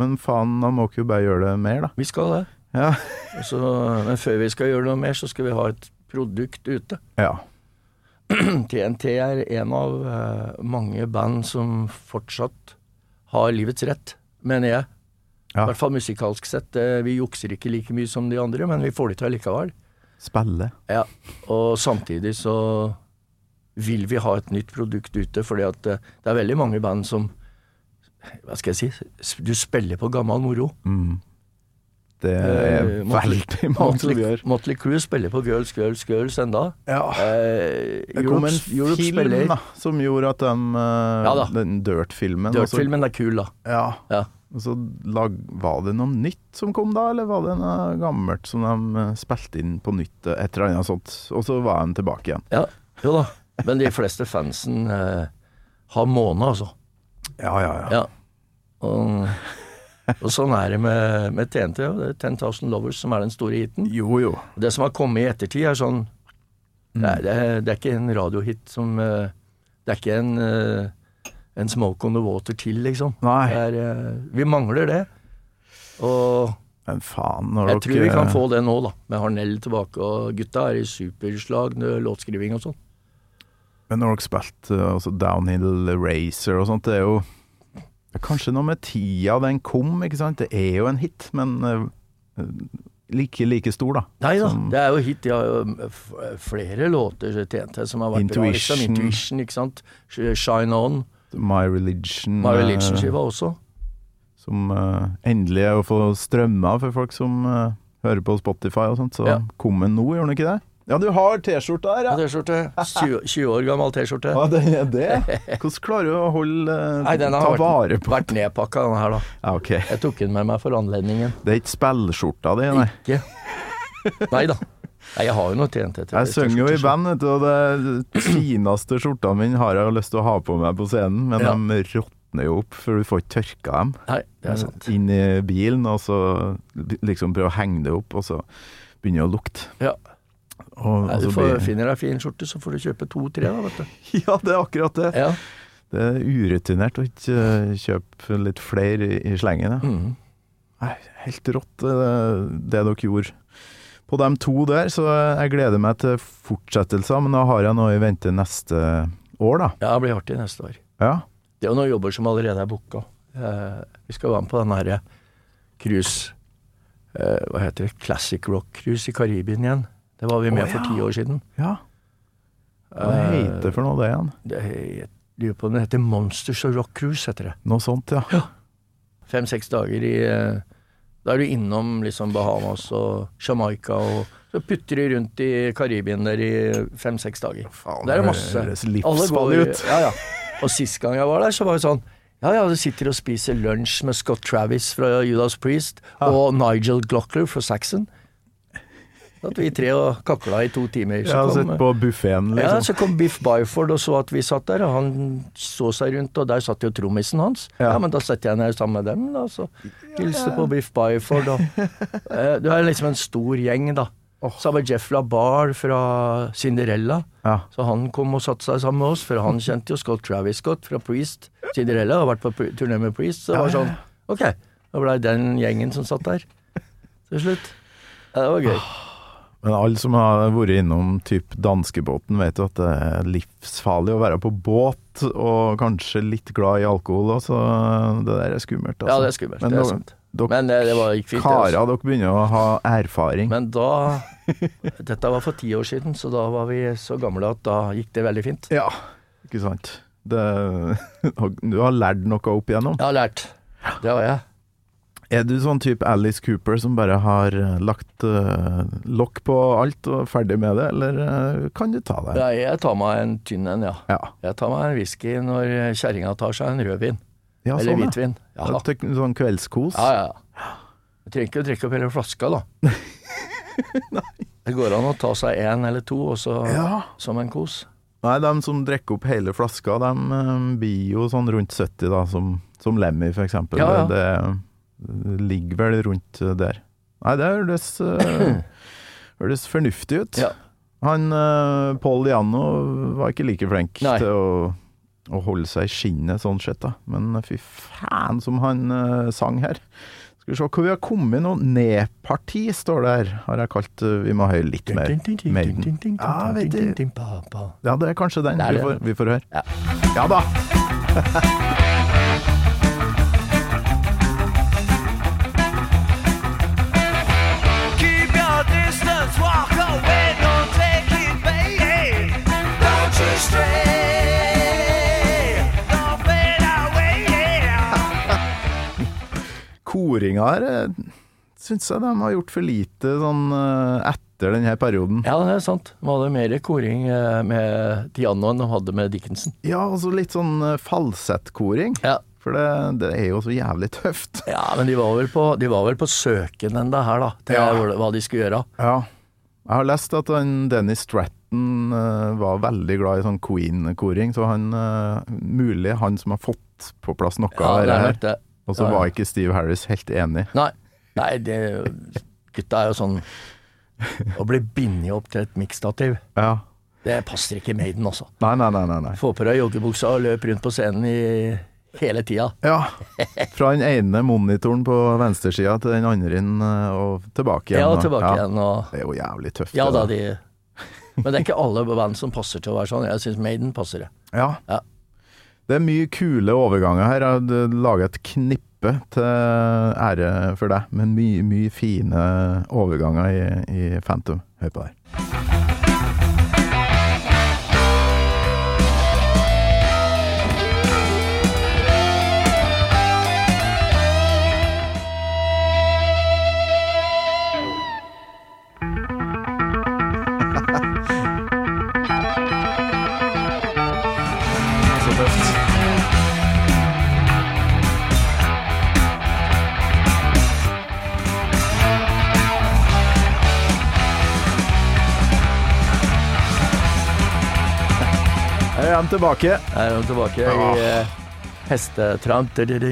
[SPEAKER 3] Men faen, da må ikke jo bare gjøre det mer, da.
[SPEAKER 2] Vi skal det.
[SPEAKER 3] Ja.
[SPEAKER 2] Og Så, men før vi skal gjøre noe mer, så skal vi ha et produkt ute.
[SPEAKER 3] ja.
[SPEAKER 2] TNT er en av eh, mange band som fortsatt har livets rett, mener jeg. I
[SPEAKER 3] Ja.
[SPEAKER 2] hvert fall musikalsk sett. Eh, Vi jukser ikke like mye som de andre, men vi får det til likevel.
[SPEAKER 3] Spille.
[SPEAKER 2] Ja, og samtidig så vil vi ha et nytt produkt ute, fordi at eh, det er veldig mange band som Hva skal jeg si? s- Du spiller på gammal moro.
[SPEAKER 3] Mm. Det er
[SPEAKER 2] Eh, Motley-
[SPEAKER 3] veldig mange som
[SPEAKER 2] Motley,
[SPEAKER 3] gjør.
[SPEAKER 2] Motley Crue spiller på Girls, Girls, Girls enda.
[SPEAKER 3] Ja.
[SPEAKER 2] Eh,
[SPEAKER 3] Det kom
[SPEAKER 2] Europe,
[SPEAKER 3] en
[SPEAKER 2] Europe
[SPEAKER 3] film
[SPEAKER 2] spiller
[SPEAKER 3] da, som gjorde at de, eh,
[SPEAKER 2] Ja da.
[SPEAKER 3] den Dirt-filmen og så-
[SPEAKER 2] Dirt-filmen er kul, da.
[SPEAKER 3] Ja.
[SPEAKER 2] Ja.
[SPEAKER 3] Og så lag, var det noe nytt som kom da, eller var det noe gammelt som de eh, spilte inn på nytt, eh, et eller annet sånt, og så var de tilbake igjen.
[SPEAKER 2] Ja, jo da. Men de fleste fansen eh, har måne, altså.
[SPEAKER 3] Ja, ja, ja.
[SPEAKER 2] Ja. Og, og sånn er det med, med TNT. og Det er 10,000 Lovers som er den store hiten.
[SPEAKER 3] Jo, Mm. jo.
[SPEAKER 2] Det som har kommet i ettertid, er sånn det, er, det, er, det er ikke en radiohit som eh, Det er ikke en, eh, en Smoke on the Water til, liksom.
[SPEAKER 3] Nei.
[SPEAKER 2] Det er, eh, vi mangler det. Og
[SPEAKER 3] Men faen, når
[SPEAKER 2] jeg
[SPEAKER 3] dere
[SPEAKER 2] tror vi kan få det nå, da. Med Harnell tilbake, og gutta er i superslag med låtskriving og sånn.
[SPEAKER 3] Men når dere spilte eh, altså Downhill Racer og sånt, det er jo det er kanskje noe med tida den kom, ikke sant? Det er jo en hit, men eh, like, like stor, da.
[SPEAKER 2] Nei da,
[SPEAKER 3] Som-
[SPEAKER 2] det er jo hit. De har jo mm, f- flere låter TNT som har vært bra. Liksom.
[SPEAKER 3] Intuition.
[SPEAKER 2] Intuition, ikke sant. Sh- Shine On.
[SPEAKER 3] My Religion.
[SPEAKER 2] My
[SPEAKER 3] eh,
[SPEAKER 2] Religion-skiva også.
[SPEAKER 3] som eh, endelig er å få strømma for folk som eh, hører på Spotify og sånt. Så
[SPEAKER 2] Ja.
[SPEAKER 3] kom den nå, gjorde den ikke det? Ja, du har T-skjorta her, ja!
[SPEAKER 2] T-skjorte. 20, 20 år gammel T-skjorte.
[SPEAKER 3] Ja, det er det. Hvordan klarer du å holde eh,
[SPEAKER 2] Nei, den
[SPEAKER 3] ta
[SPEAKER 2] har
[SPEAKER 3] vare
[SPEAKER 2] vært,
[SPEAKER 3] på
[SPEAKER 2] vært nedpakka, den her, da.
[SPEAKER 3] Ja, ok.
[SPEAKER 2] Jeg tok den med meg for anledningen.
[SPEAKER 3] Det er ikke spillskjorta di, nei.
[SPEAKER 2] Ikke Nei da. Nei, jeg har jo noe TNT. til-
[SPEAKER 3] Jeg synger jo i
[SPEAKER 2] T-skjorte.
[SPEAKER 3] band, vet du, og det fineste skjorta mi har jeg jo lyst til å ha på meg på scenen, men
[SPEAKER 2] Ja.
[SPEAKER 3] de råtner jo opp, for du får ikke tørka dem.
[SPEAKER 2] Nei, det er sant.
[SPEAKER 3] Inn i bilen, og så liksom prøve å henge det opp, og så begynner det å lukte.
[SPEAKER 2] Ja.
[SPEAKER 3] Og,
[SPEAKER 2] Nei,
[SPEAKER 3] og
[SPEAKER 2] du
[SPEAKER 3] så
[SPEAKER 2] får,
[SPEAKER 3] Altså, blir-
[SPEAKER 2] finner deg fin skjorte, så får du kjøpe to-tre, da, vet du.
[SPEAKER 3] Ja, det er akkurat det.
[SPEAKER 2] Ja.
[SPEAKER 3] Det er urutinert å ikke eh, kjøpe litt flere i, i slengen. Ja.
[SPEAKER 2] Mm.
[SPEAKER 3] Nei, helt rått eh, det dere gjorde. På de to der, så jeg gleder meg til fortsettelser, men da har jeg noe i vente neste år, da.
[SPEAKER 2] ja, det blir artig neste år.
[SPEAKER 3] Ja.
[SPEAKER 2] Det er jo noen jobber som allerede er booka. Eh, vi skal være med på den herre cruise eh, Hva heter det? Classic rock-cruise i Karibien igjen. Det var vi med
[SPEAKER 3] Å,
[SPEAKER 2] for
[SPEAKER 3] ja.
[SPEAKER 2] ti år siden.
[SPEAKER 3] ja. Hva
[SPEAKER 2] Eh,
[SPEAKER 3] heter det for noe, det igjen?
[SPEAKER 2] Det het- lurer på om det heter Monsters of Rock Cruise, heter det.
[SPEAKER 3] Noe sånt, ja.
[SPEAKER 2] Fem-seks dager i eh, Da er du innom liksom Bahamas og Jamaica og Så putter du rundt i Karibien der i fem-seks dager.
[SPEAKER 3] Faen,
[SPEAKER 2] Det er
[SPEAKER 3] det
[SPEAKER 2] det masse.
[SPEAKER 3] høres
[SPEAKER 2] Alle går-
[SPEAKER 3] livsfarlig ut.
[SPEAKER 2] Ja, ja. Og sist gang jeg var der, så var det sånn ja, ja, du sitter og spiser lunsj med Scott Travis fra Judas Priest og Nigel Glockler fra Saxon. At vi tre og kakla i to timer.
[SPEAKER 3] Jeg har sett på buffeen,
[SPEAKER 2] ja,
[SPEAKER 3] liksom.
[SPEAKER 2] så kom Biff Byford og så at vi satt der, og han så seg rundt, og der satt jo trommisen hans. Ja.
[SPEAKER 3] Ja.
[SPEAKER 2] men da setter jeg ned sammen med dem, da, så hilste på Biff Byford og eh, Du er liksom en stor gjeng, da. Sammen med Jeff LaBar fra Cinderella.
[SPEAKER 3] Ja.
[SPEAKER 2] Så han kom og satte seg sammen med oss, for han kjente jo Scott Travis Scott fra Priest. Cinderella har vært på pri- turné med Priest, så det var sånn Ok, da blei den gjengen som satt der til slutt. Ja, det var gøy.
[SPEAKER 3] Ah, Men alle som har vært innom typ danskebåten, vet jo at det er livsfarlig å være på båt, og kanskje litt glad i alkohol òg, så det der er skummelt. Altså.
[SPEAKER 2] Ja, det er skummelt.
[SPEAKER 3] Men
[SPEAKER 2] det er
[SPEAKER 3] dere-
[SPEAKER 2] sant.
[SPEAKER 3] dere
[SPEAKER 2] Men eh, det var gikk fint. det, altså.
[SPEAKER 3] Karer, dere begynner å ha erfaring.
[SPEAKER 2] Men da Dette var for ti år siden, så da var vi så gamle at da gikk det veldig fint.
[SPEAKER 3] ja, ikke sant. Det, du har lært noe opp igjennom.
[SPEAKER 2] Jeg har lært. Det har jeg.
[SPEAKER 3] Er du sånn type Alice Cooper som bare har eh, lagt eh, lokk på alt og ferdig med det, eller eh, kan du ta det?
[SPEAKER 2] Nei, jeg tar meg en tynn en, ja.
[SPEAKER 3] Ja.
[SPEAKER 2] Jeg tar meg en whisky når kjerringa tar seg en rødvin.
[SPEAKER 3] ja
[SPEAKER 2] eller
[SPEAKER 3] sånn, ja.
[SPEAKER 2] hvitvin. Ja,
[SPEAKER 3] Ja,
[SPEAKER 2] ja,
[SPEAKER 3] tek- Sånn kveldskos.
[SPEAKER 2] ja. ja. Du trenger ikke å drikke opp hele flaska, da. Det går an å ta seg en eller to, og så
[SPEAKER 3] Ja.
[SPEAKER 2] som en kos.
[SPEAKER 3] Nei, de som drikker opp hele flaska, de eh, blir jo sånn rundt 70, da, som, som Lemmy, for eksempel.
[SPEAKER 2] Ja, ja.
[SPEAKER 3] Det, det ligger vel rundt eh, der. Nei, det høres, eh, høres fornuftig ut.
[SPEAKER 2] Ja.
[SPEAKER 3] Han eh, Paul Diano var ikke like flink
[SPEAKER 2] Nei.
[SPEAKER 3] til å, å holde seg i skinnet, sånn sett, da. Men fy faen som han eh, sang her. Skal vi se hvor vi har kommet nå. Ned-parti står det her, har jeg kalt eh, Vi må høre litt mer. Maiden. Ja, vet du. Ja, det er kanskje den.
[SPEAKER 2] Det er
[SPEAKER 3] Vi, får,
[SPEAKER 2] det.
[SPEAKER 3] vi får høre.
[SPEAKER 2] Ja.
[SPEAKER 3] Ja da!
[SPEAKER 5] Keep your distance, walk away, don't take it, baby. Don't you stray, don't fade away, yeah.
[SPEAKER 3] Koringa her syns jeg de har gjort for lite sånn eh, etter denne perioden.
[SPEAKER 2] Ja, det er sant. De hadde mer koring eh, med Tiano enn de hadde med Dickinson.
[SPEAKER 3] Ja, altså litt sånn eh, falsettkoring.
[SPEAKER 2] Ja.
[SPEAKER 3] For det, det er jo så jævlig tøft.
[SPEAKER 2] ja, men de var vel på, de var vel på søken enda her, da, til
[SPEAKER 3] Ja.
[SPEAKER 2] hvor- hva de skulle gjøre.
[SPEAKER 3] Ja. Jeg har lest at han Dennis Stratton eh, var veldig glad i sånn Queen-koring, så han eh, Mulig han som har fått på plass noe
[SPEAKER 2] Ja,
[SPEAKER 3] av
[SPEAKER 2] det
[SPEAKER 3] det
[SPEAKER 2] er
[SPEAKER 3] her.
[SPEAKER 2] nok det.
[SPEAKER 3] Og så
[SPEAKER 2] Ja, ja.
[SPEAKER 3] var ikke Steve Harris helt enig.
[SPEAKER 2] Nei, nei det, gutta er jo sånn Å bli bindet opp til et mikstativ,
[SPEAKER 3] Ja.
[SPEAKER 2] det passer ikke Maiden, altså.
[SPEAKER 3] Nei, nei, nei, nei. nei.
[SPEAKER 2] Få på deg joggebuksa og løp rundt på scenen i hele tida.
[SPEAKER 3] Ja. Fra den ene monitoren på venstresida til den andre inn, eh, og tilbake igjen.
[SPEAKER 2] Ja, og
[SPEAKER 3] da.
[SPEAKER 2] tilbake
[SPEAKER 3] Ja.
[SPEAKER 2] igjen og
[SPEAKER 3] Det er jo jævlig tøft.
[SPEAKER 2] Ja
[SPEAKER 3] det
[SPEAKER 2] da,
[SPEAKER 3] der.
[SPEAKER 2] de Men det er ikke alle band som passer til å være sånn. Jeg syns Maiden passer det.
[SPEAKER 3] Ja.
[SPEAKER 2] Ja.
[SPEAKER 3] Det er mye kule overganger her. Jeg har laga et knippe til ære for deg, men mye, mye fine overganger i, i Phantom. Hør på det her. Så tøft. Her er de tilbake.
[SPEAKER 2] Her er de tilbake i eh, hestetramp Det er,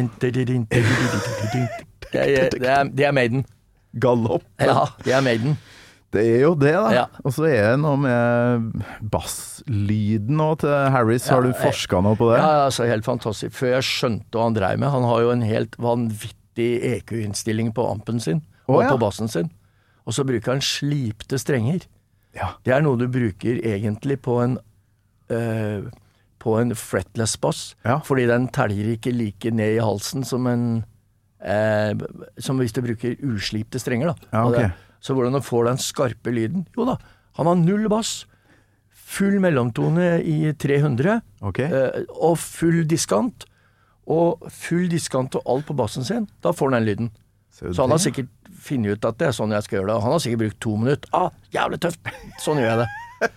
[SPEAKER 2] det er- det er Maiden.
[SPEAKER 3] Galopp.
[SPEAKER 2] Ja, det er Maiden.
[SPEAKER 3] Det er jo det, da.
[SPEAKER 2] Ja.
[SPEAKER 3] Og så er det noe med basslyden òg til Harris. Har du
[SPEAKER 2] jeg-
[SPEAKER 3] forska noe på det?
[SPEAKER 2] Ja, ja, altså, helt fantastisk. Før jeg skjønte hva han dreiv med Han har jo en helt vanvittig EQ-innstilling på ampen sin, og
[SPEAKER 3] Å, ja.
[SPEAKER 2] på bassen sin. Og så bruker han slipte strenger.
[SPEAKER 3] Ja.
[SPEAKER 2] Det er noe du bruker egentlig på en eh, På en fretless bass,
[SPEAKER 3] Ja.
[SPEAKER 2] fordi den teljer ikke like ned i halsen som en eh, Som hvis du bruker uslipte strenger, da.
[SPEAKER 3] Ja,
[SPEAKER 2] Og
[SPEAKER 3] ok.
[SPEAKER 2] det- så hvordan han får den skarpe lyden Jo da, han har null bass. Full mellomtone i 300,
[SPEAKER 3] Ok.
[SPEAKER 2] eh, og full diskant. Og full diskant og alt på bassen sin. Da får han den lyden.
[SPEAKER 3] Ser du
[SPEAKER 2] Så han har
[SPEAKER 3] det?
[SPEAKER 2] sikkert funnet ut at det er sånn jeg skal gjøre det. Og han har sikkert brukt to minutter. Ah, jævlig tøft! Sånn gjør jeg det.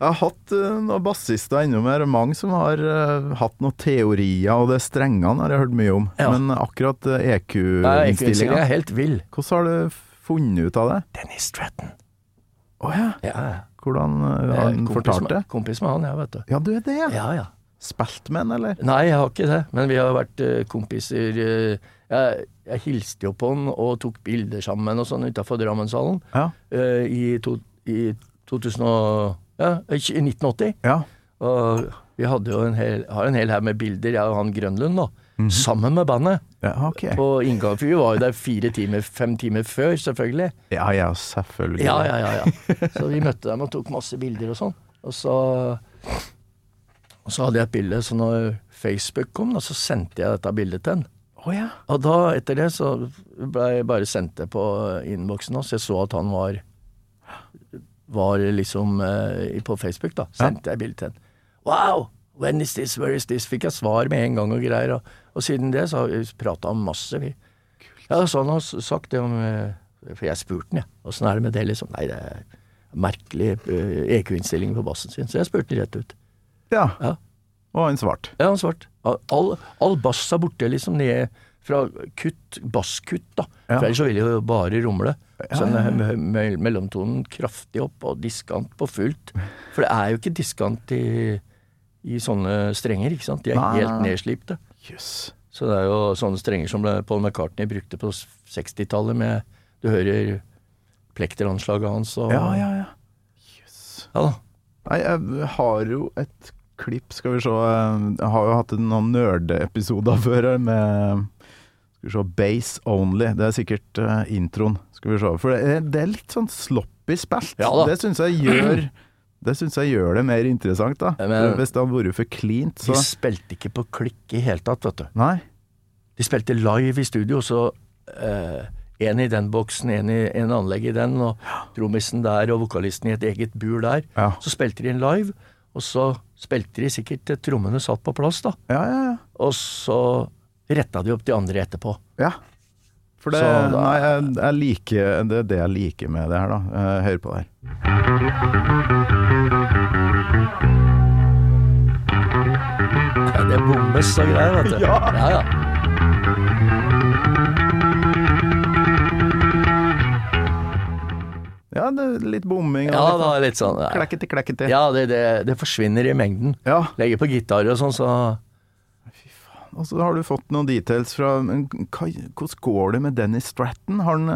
[SPEAKER 3] Jeg har hatt eh, noen bassister innom her, og mange som har eh, hatt noen teorier, og det er strengene har jeg hørt mye om.
[SPEAKER 2] Ja.
[SPEAKER 3] Men akkurat
[SPEAKER 2] Nei, ikke jeg
[SPEAKER 3] EQ-innstillinga
[SPEAKER 2] er helt vill.
[SPEAKER 3] Hvordan har du funnet ut av det?
[SPEAKER 2] Dennis Stratton.
[SPEAKER 3] Å ja.
[SPEAKER 2] Ja, ja.
[SPEAKER 3] Hvordan eh,
[SPEAKER 2] Jeg
[SPEAKER 3] har
[SPEAKER 2] er
[SPEAKER 3] han
[SPEAKER 2] kompis
[SPEAKER 3] fortalt
[SPEAKER 2] med-
[SPEAKER 3] det?
[SPEAKER 2] Kompis med han, jeg, vet du.
[SPEAKER 3] Ja, du er det, ja.
[SPEAKER 2] Ja, ja.
[SPEAKER 3] Spilt med han, eller?
[SPEAKER 2] Nei, jeg har ikke det. Men vi har vært eh, kompiser. eh, jeg, jeg hilste jo på han og tok bilder sammen og sånn utafor Drammenshallen
[SPEAKER 3] Ja.
[SPEAKER 2] eh, i, to, i 2000 og, ja, i 1980.
[SPEAKER 3] ja.
[SPEAKER 2] Og vi hadde jo en hel, har en hel haug med bilder, jeg og han Grønlund, da. Sammen med bandet.
[SPEAKER 3] ja ok.
[SPEAKER 2] På inngang, for vi var jo der fire timer, fem timer før, selvfølgelig.
[SPEAKER 3] Ja, ja, selvfølgelig.
[SPEAKER 2] Ja, ja, ja, ja. Så vi møtte dem og tok masse bilder og sånn. Og så, og så hadde jeg et bilde, så når Facebook kom, da, så sendte jeg dette bildet til en.
[SPEAKER 3] Å ja.
[SPEAKER 2] Og da, etter det, så ble jeg bare sendt det på innboksen hans. Jeg så at han var var liksom eh, på Facebook, da. Sendte jeg bilde til han. Wow! When is this? Where is this? Fikk jeg svar med en gang og greier. Og, og siden det så har vi prata masse, vi. Ja, så han har s- sagt det om eh, For jeg spurte han, jeg. Åssen er det med det, liksom? Nei, det er merkelig eh, EQ-innstilling på bassen sin. Så jeg spurte han rett ut.
[SPEAKER 3] ja.
[SPEAKER 2] Ja.
[SPEAKER 3] Og han svarte.
[SPEAKER 2] Ja, han svart. All, all bass er borte, liksom, ned Fra kutt, basskutt, da.
[SPEAKER 3] Ja.
[SPEAKER 2] For ellers så vil det jo bare rumle. Så
[SPEAKER 3] ja, ja.
[SPEAKER 2] den me- me- mellomtonen kraftig opp, og diskant på fullt. For det er jo ikke diskant i, i sånne strenger, ikke sant. De er
[SPEAKER 3] Nei, nei,
[SPEAKER 2] helt
[SPEAKER 3] nei.
[SPEAKER 2] nedslipte.
[SPEAKER 3] Jøss.
[SPEAKER 2] Så det er jo sånne strenger som ble- Paul McCartney brukte på 60-tallet med Du hører plekteranslaget hans og
[SPEAKER 3] Ja, ja, ja.
[SPEAKER 2] Ja da.
[SPEAKER 3] Nei, jeg har jo et klipp, skal vi se eh, Jeg har jo hatt noen nerdeepisoder før her med Skal vi se Base Only. Det er sikkert eh, introen. Skal vi se. For det er, det er litt sånn sloppy spilt.
[SPEAKER 2] Ja da.
[SPEAKER 3] det syns jeg gjør Det synes jeg gjør det mer interessant, da.
[SPEAKER 2] Men-
[SPEAKER 3] Hvis det hadde vært for cleant, så
[SPEAKER 2] De spilte ikke på klikk i hele tatt, vet du.
[SPEAKER 3] Nei.
[SPEAKER 2] De spilte live i studio, så eh, en i den boksen, en i en anlegg i den, og trommisen der og vokalisten i et eget bur der.
[SPEAKER 3] Ja.
[SPEAKER 2] Så spilte de inn live, og så spilte de sikkert til trommene satt på plass, da.
[SPEAKER 3] Ja, ja, ja.
[SPEAKER 2] Og så retta de opp de andre etterpå.
[SPEAKER 3] ja. For det
[SPEAKER 2] Så da-
[SPEAKER 3] Nei, jeg, jeg liker Det er det jeg liker med det her, da. Eh, Hør på det her.
[SPEAKER 2] Ja, det bommes og greier, vet du. Ja. Ja,
[SPEAKER 3] Ja, det er litt bomming og
[SPEAKER 2] ja
[SPEAKER 3] litt
[SPEAKER 2] da, litt sånn ja.
[SPEAKER 3] klekkete, klekkete.
[SPEAKER 2] Ja, det, det, det forsvinner i mengden.
[SPEAKER 3] ja.
[SPEAKER 2] Legger på gitar og sånn, så
[SPEAKER 3] Og så har du fått noen details fra men hva, Hvordan går det med Dennis Stratton? Har han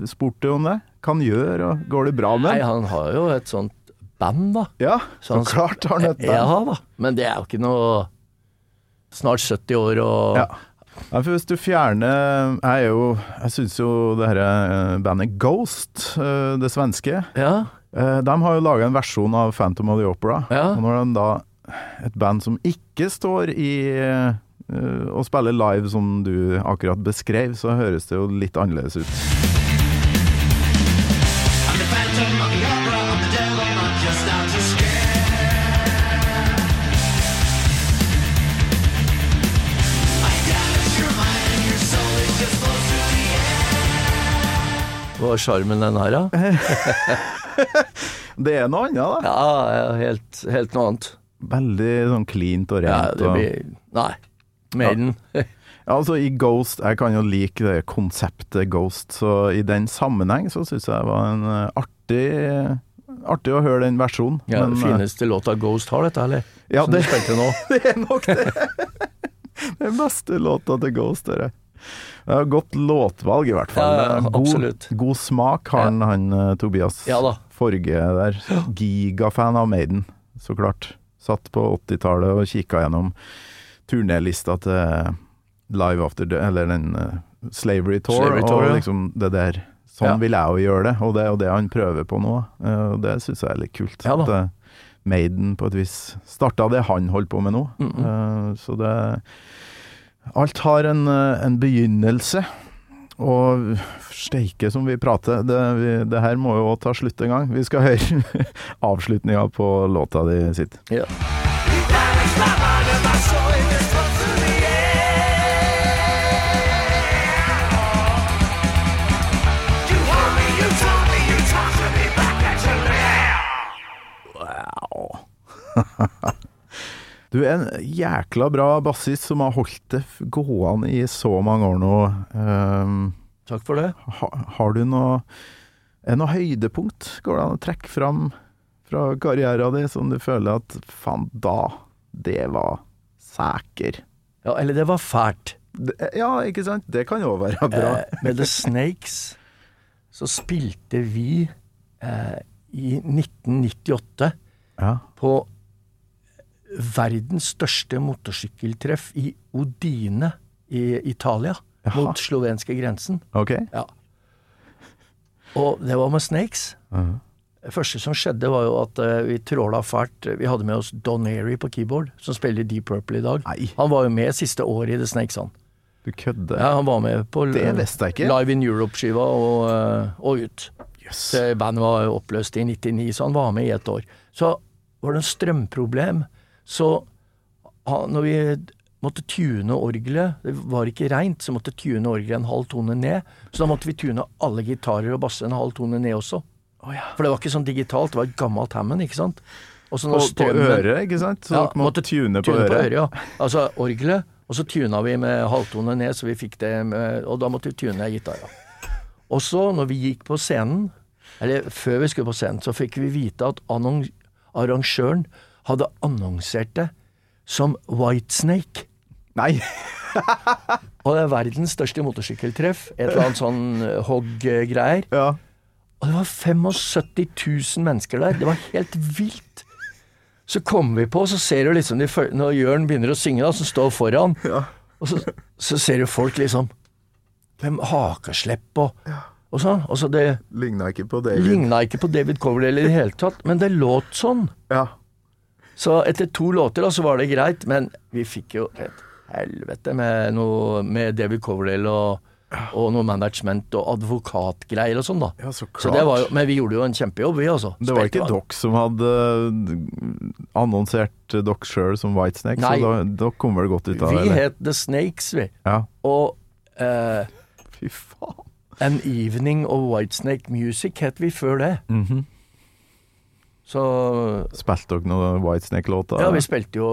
[SPEAKER 3] eh, spurt deg om det? Hva han gjør, og går det bra med
[SPEAKER 2] Nei,
[SPEAKER 3] han?
[SPEAKER 2] han har jo et sånt band, da.
[SPEAKER 3] Ja,
[SPEAKER 2] Så
[SPEAKER 3] så
[SPEAKER 2] han-
[SPEAKER 3] klart har han et band.
[SPEAKER 2] Ja da, men det er jo ikke noe Snart 70 år og
[SPEAKER 3] Ja. Nei, for hvis du fjerner eh, Jeg, er jo- jeg syns jo det her eh, bandet Ghost, eh, det svenske,
[SPEAKER 2] ja.
[SPEAKER 3] eh, de har jo laga en versjon av Phantom of the Opera.
[SPEAKER 2] Ja.
[SPEAKER 3] Og når de da Et band som ikke står i eh, og spiller live som du akkurat beskrev, så høres det jo litt annerledes ut.
[SPEAKER 4] the phantom of the opera, I'm the devil, I'm just out to scare. I damage your mind and your soul is just close to the end.
[SPEAKER 2] Hva er sjarmen den her, da?
[SPEAKER 3] Det er noe annet, da.
[SPEAKER 2] Ja, ja, helt, helt noe annet.
[SPEAKER 3] Veldig sånn cleant og
[SPEAKER 2] Ja,
[SPEAKER 3] rent.
[SPEAKER 2] det
[SPEAKER 3] og-
[SPEAKER 2] blir Nei. Maiden.
[SPEAKER 3] Ja, altså I Ghost, jeg kan jo like det konseptet Ghost, så i den sammenheng så syns jeg det var en eh, artig Artig å høre den versjonen.
[SPEAKER 2] Ja,
[SPEAKER 3] men, eh,
[SPEAKER 2] fineste låta Ghost har, dette, eller?
[SPEAKER 3] Ja,
[SPEAKER 2] Som
[SPEAKER 3] det-
[SPEAKER 2] du spilte nå.
[SPEAKER 3] det er nok det.
[SPEAKER 2] sånn-
[SPEAKER 3] Den beste låta til Ghost, dette. Det er godt låtvalg, i hvert fall.
[SPEAKER 2] Ja, ja,
[SPEAKER 3] Det er
[SPEAKER 2] absolutt.
[SPEAKER 3] god, god smak har han, han eh, Tobias
[SPEAKER 2] Ja da.
[SPEAKER 3] Forge der. Gigafan av Maiden, så klart. Satt på 80-tallet og kikka gjennom turnélista til Live After Death, eller den eh, Slavery Tour,
[SPEAKER 2] Slavery Tour,
[SPEAKER 3] og
[SPEAKER 2] ja.
[SPEAKER 3] liksom det der. Sånn
[SPEAKER 2] Ja.
[SPEAKER 3] vil jeg jo gjøre det, og det er jo det han prøver på nå. eh, og Det syns jeg er litt kult.
[SPEAKER 2] Ja da.
[SPEAKER 3] At, eh, Maiden på et vis starta det han holdt på med nå.
[SPEAKER 2] Mm,
[SPEAKER 3] Eh, så det Alt har en, eh, en begynnelse. Og steike som vi prater, det, vi, det her må jo også ta slutt en gang. Vi skal høre avslutninga på låta di sitt.
[SPEAKER 2] Ja.
[SPEAKER 5] You damage my mind and my soul is just close to the end. You hurt me, you tore me, you tossed me back at your lair.
[SPEAKER 3] Du er en jækla bra bassist som har holdt det f- gående i så mange år nå. Ehm,
[SPEAKER 2] Takk for det.
[SPEAKER 3] ha, har du noe Er noe høydepunkt? Går det an å trekke fram fra karrieren din som du føler at faen, da Det var sæker.
[SPEAKER 2] Ja, eller det var fælt.
[SPEAKER 3] Det- eh, Ja, ikke sant? Det kan jo være bra.
[SPEAKER 2] Eh, med The Snakes så spilte vi eh, i 1998
[SPEAKER 3] Ja.
[SPEAKER 2] på verdens største motorsykkeltreff i Odine i Italia,
[SPEAKER 3] Jaha.
[SPEAKER 2] mot slovenske grensen.
[SPEAKER 3] OK?
[SPEAKER 2] Ja. Og det var med Snakes.
[SPEAKER 3] Mhm.
[SPEAKER 2] Det første som skjedde, var jo at eh, vi tråla fælt. Vi hadde med oss Don Airy på keyboard, som spiller Deep Purple i dag.
[SPEAKER 3] Nei.
[SPEAKER 2] Han var jo med siste året i The Snakes, han.
[SPEAKER 3] Du kødder.
[SPEAKER 2] Ja, han var med på
[SPEAKER 3] Det visste jeg ikke.
[SPEAKER 2] Live in Europe-skiva og, eh, og ut.
[SPEAKER 3] Jøss.
[SPEAKER 2] Det Bandet var jo oppløst i 99, så han var med i et år. Så var det en strømproblem. Så han, når vi måtte tune orgelet, det var ikke reint, så måtte tune orgelet en halv tone ned. Så da måtte vi tune alle gitarer og basser en halv tone ned også. For det var ikke sånn digitalt, det var et gammelt Hammond, ikke sant? Og så når
[SPEAKER 3] På, på
[SPEAKER 2] strømmen-
[SPEAKER 3] øret, ikke sant? Så dere måtte tune på øret.
[SPEAKER 2] ja. Altså orgelet, Og så tuna vi med halvtone ned, så vi fikk det med, Og da måtte vi tune gitara. Og så, når vi gikk på scenen, eller før vi skulle på scenen, så fikk vi vite at annon- arrangøren hadde annonsert det som Whitesnake.
[SPEAKER 3] Nei!
[SPEAKER 2] Og det er verdens største motorsykkeltreff. Et eller annet sånn hogg-greier.
[SPEAKER 3] Ja.
[SPEAKER 2] Og det var 75 000 mennesker der. Det var helt vilt. Så kommer vi på, så ser du liksom de, føl- Når Jørn begynner å synge, da, som står foran, og så, så ser du folk liksom Hvem hakeslepp og, og sånn. Og så det
[SPEAKER 3] Ligna ikke på David.
[SPEAKER 2] ligna ikke på David Coverdale i det hele tatt, men det låt sånn.
[SPEAKER 3] Ja.
[SPEAKER 2] Så etter to låter da, så var det greit, men vi fikk jo et helvete med, noe, med David Coverdale og, og noe management og advokatgreier og sånn, da.
[SPEAKER 3] Ja, så klart.
[SPEAKER 2] Så det var jo, men vi gjorde jo en kjempejobb, vi altså.
[SPEAKER 3] Det var ikke
[SPEAKER 2] Spilte-
[SPEAKER 3] dere som hadde eh, annonsert dere sjøl som Whitesnake,
[SPEAKER 2] Nei.
[SPEAKER 3] så da- dere kom vel godt ut av det?
[SPEAKER 2] Vi
[SPEAKER 3] eller?
[SPEAKER 2] het The Snakes, vi.
[SPEAKER 3] Ja.
[SPEAKER 2] Og eh,
[SPEAKER 3] Fy faen.
[SPEAKER 2] An Evening of Whitesnake Music het vi før det. Så
[SPEAKER 3] Mhm. Spilte dere noen Whitesnake-låter?
[SPEAKER 2] Ja, vi spilte jo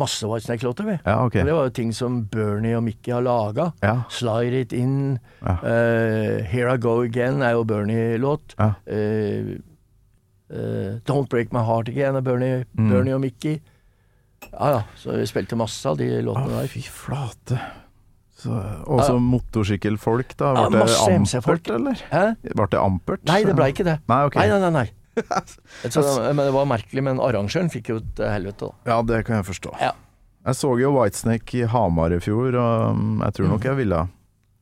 [SPEAKER 2] masse Whitesnake-låter, vi.
[SPEAKER 3] Ja,
[SPEAKER 2] Og
[SPEAKER 3] ok.
[SPEAKER 2] Det var jo ting som Bernie og Mickey har laga.
[SPEAKER 3] Ja.
[SPEAKER 2] Slide It In,
[SPEAKER 3] Ja.
[SPEAKER 2] eh, Here I Go Again er jo Bernie-låt.
[SPEAKER 3] Ja.
[SPEAKER 2] Eh, eh, Don't Break My Heart Again er Bernie,
[SPEAKER 3] Mm.
[SPEAKER 2] Bernie og Mickey. Ja ja, så vi spilte masse av de låtene
[SPEAKER 3] Å,
[SPEAKER 2] der.
[SPEAKER 3] fy flate. Så- Og så motorsykkelfolk, da.
[SPEAKER 2] Ja,
[SPEAKER 3] Ble det
[SPEAKER 2] masse MC-folk.
[SPEAKER 3] ampert, eller?
[SPEAKER 2] Hæ?
[SPEAKER 3] Ble det ampert?
[SPEAKER 2] Nei, det blei ikke det.
[SPEAKER 3] Nei, ok.
[SPEAKER 2] nei, nei. nei. Så, men det var merkelig, men arrangøren fikk jo et helvete, da.
[SPEAKER 3] Ja, det kan jeg forstå.
[SPEAKER 2] Ja.
[SPEAKER 3] Jeg så jo Whitesnake i Hamar i fjor, og um, jeg
[SPEAKER 2] Mhm.
[SPEAKER 3] tror nok jeg ville ha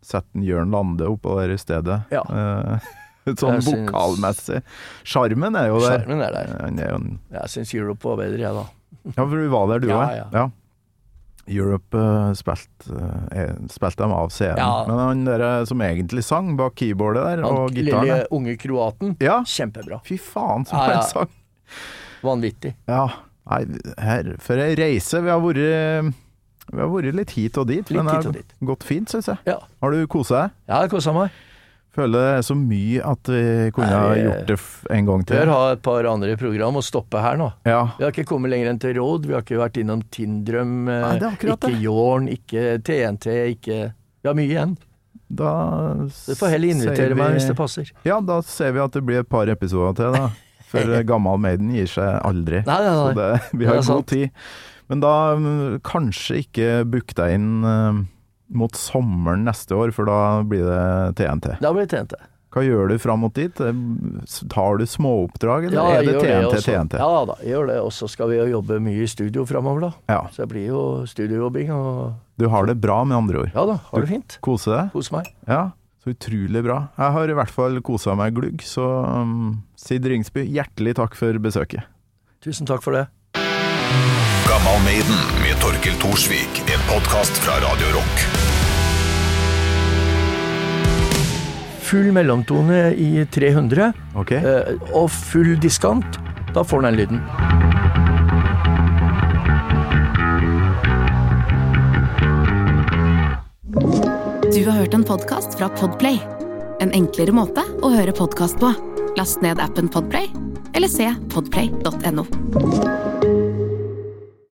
[SPEAKER 3] sett en Jørn Lande oppå der i stedet.
[SPEAKER 2] Ja.
[SPEAKER 3] Eh, sånn
[SPEAKER 2] Jeg synes-
[SPEAKER 3] vokalmessig. Sjarmen er jo der.
[SPEAKER 2] Skjermen er der.
[SPEAKER 3] Eh, Han er jo en
[SPEAKER 2] Jeg syns Europe var bedre, jeg, da.
[SPEAKER 3] Ja, for vi var der, du
[SPEAKER 2] Ja,
[SPEAKER 3] òg.
[SPEAKER 2] ja.
[SPEAKER 3] Europe eh, spilte eh, spilte dem av scenen.
[SPEAKER 2] Ja.
[SPEAKER 3] Men han der som egentlig sang bak keyboardet der, og
[SPEAKER 2] Han
[SPEAKER 3] gitaren
[SPEAKER 2] lille
[SPEAKER 3] der.
[SPEAKER 2] unge kroaten.
[SPEAKER 3] Ja.
[SPEAKER 2] Kjempebra.
[SPEAKER 3] Fy faen, som
[SPEAKER 2] Ja, ja.
[SPEAKER 3] han sang!
[SPEAKER 2] Vanvittig.
[SPEAKER 3] Ja. Nei, her, for ei reise. Vi har vært vi har vært litt hit og dit,
[SPEAKER 2] Litt
[SPEAKER 3] men det
[SPEAKER 2] hit og
[SPEAKER 3] har
[SPEAKER 2] dit.
[SPEAKER 3] gått fint, syns jeg.
[SPEAKER 2] Ja,
[SPEAKER 3] Har du kosa deg?
[SPEAKER 2] jeg har kosa meg.
[SPEAKER 3] Føler det er så mye at vi kunne
[SPEAKER 2] Nei,
[SPEAKER 3] ha
[SPEAKER 2] vi-
[SPEAKER 3] gjort det f- en gang
[SPEAKER 2] Bør
[SPEAKER 3] til.
[SPEAKER 2] ha et par andre program og stoppe her nå.
[SPEAKER 3] Ja.
[SPEAKER 2] Vi har ikke kommet lenger enn til Råd, vi har ikke vært innom Tindrøm, eh,
[SPEAKER 3] Nei, det er akkurat
[SPEAKER 2] ikke
[SPEAKER 3] det.
[SPEAKER 2] Jorn, ikke TNT, ikke Vi har mye igjen.
[SPEAKER 3] Da
[SPEAKER 2] Du får heller invitere
[SPEAKER 3] sier vi-
[SPEAKER 2] meg hvis det passer.
[SPEAKER 3] Ja, da ser vi at det blir et par episoder til, da. For gammal Maiden gir seg aldri.
[SPEAKER 2] Nei, nei, nei.
[SPEAKER 3] Så det, vi
[SPEAKER 2] Det er
[SPEAKER 3] har god
[SPEAKER 2] sant.
[SPEAKER 3] tid. Men da mm, kanskje ikke book deg inn eh, mot sommeren neste år, for da blir det TNT.
[SPEAKER 2] Da blir det TNT.
[SPEAKER 3] Hva gjør du fram mot dit? Eh, Tar du småoppdrag, eller
[SPEAKER 2] jeg
[SPEAKER 3] er det
[SPEAKER 2] gjør
[SPEAKER 3] TNT,
[SPEAKER 2] også.
[SPEAKER 3] TNT?
[SPEAKER 2] Ja da, jeg gjør det. Og så skal vi jo jobbe mye i studio framover, da.
[SPEAKER 3] Ja.
[SPEAKER 2] Så det blir jo studiojobbing og
[SPEAKER 3] Du har det bra, med andre ord.
[SPEAKER 2] Ja da, har det fint.
[SPEAKER 3] Kose deg?
[SPEAKER 2] Kos meg.
[SPEAKER 3] Ja. Så utrolig bra. Jeg har i hvert fall kosa meg glugg, så um, Sid Ringsby, hjertelig takk for besøket.
[SPEAKER 2] Tusen takk for det.
[SPEAKER 7] Gammal Maiden med Torkel Thorsvik. En podkast fra Radio Rock.
[SPEAKER 2] Full mellomtone i 300,
[SPEAKER 3] Ok?
[SPEAKER 2] eh, og full diskant. Da får den den lyden.
[SPEAKER 1] Du har hørt en podkast fra Podplay. En enklere måte å høre podkast på. Last ned appen Podplay, eller se podplay.no.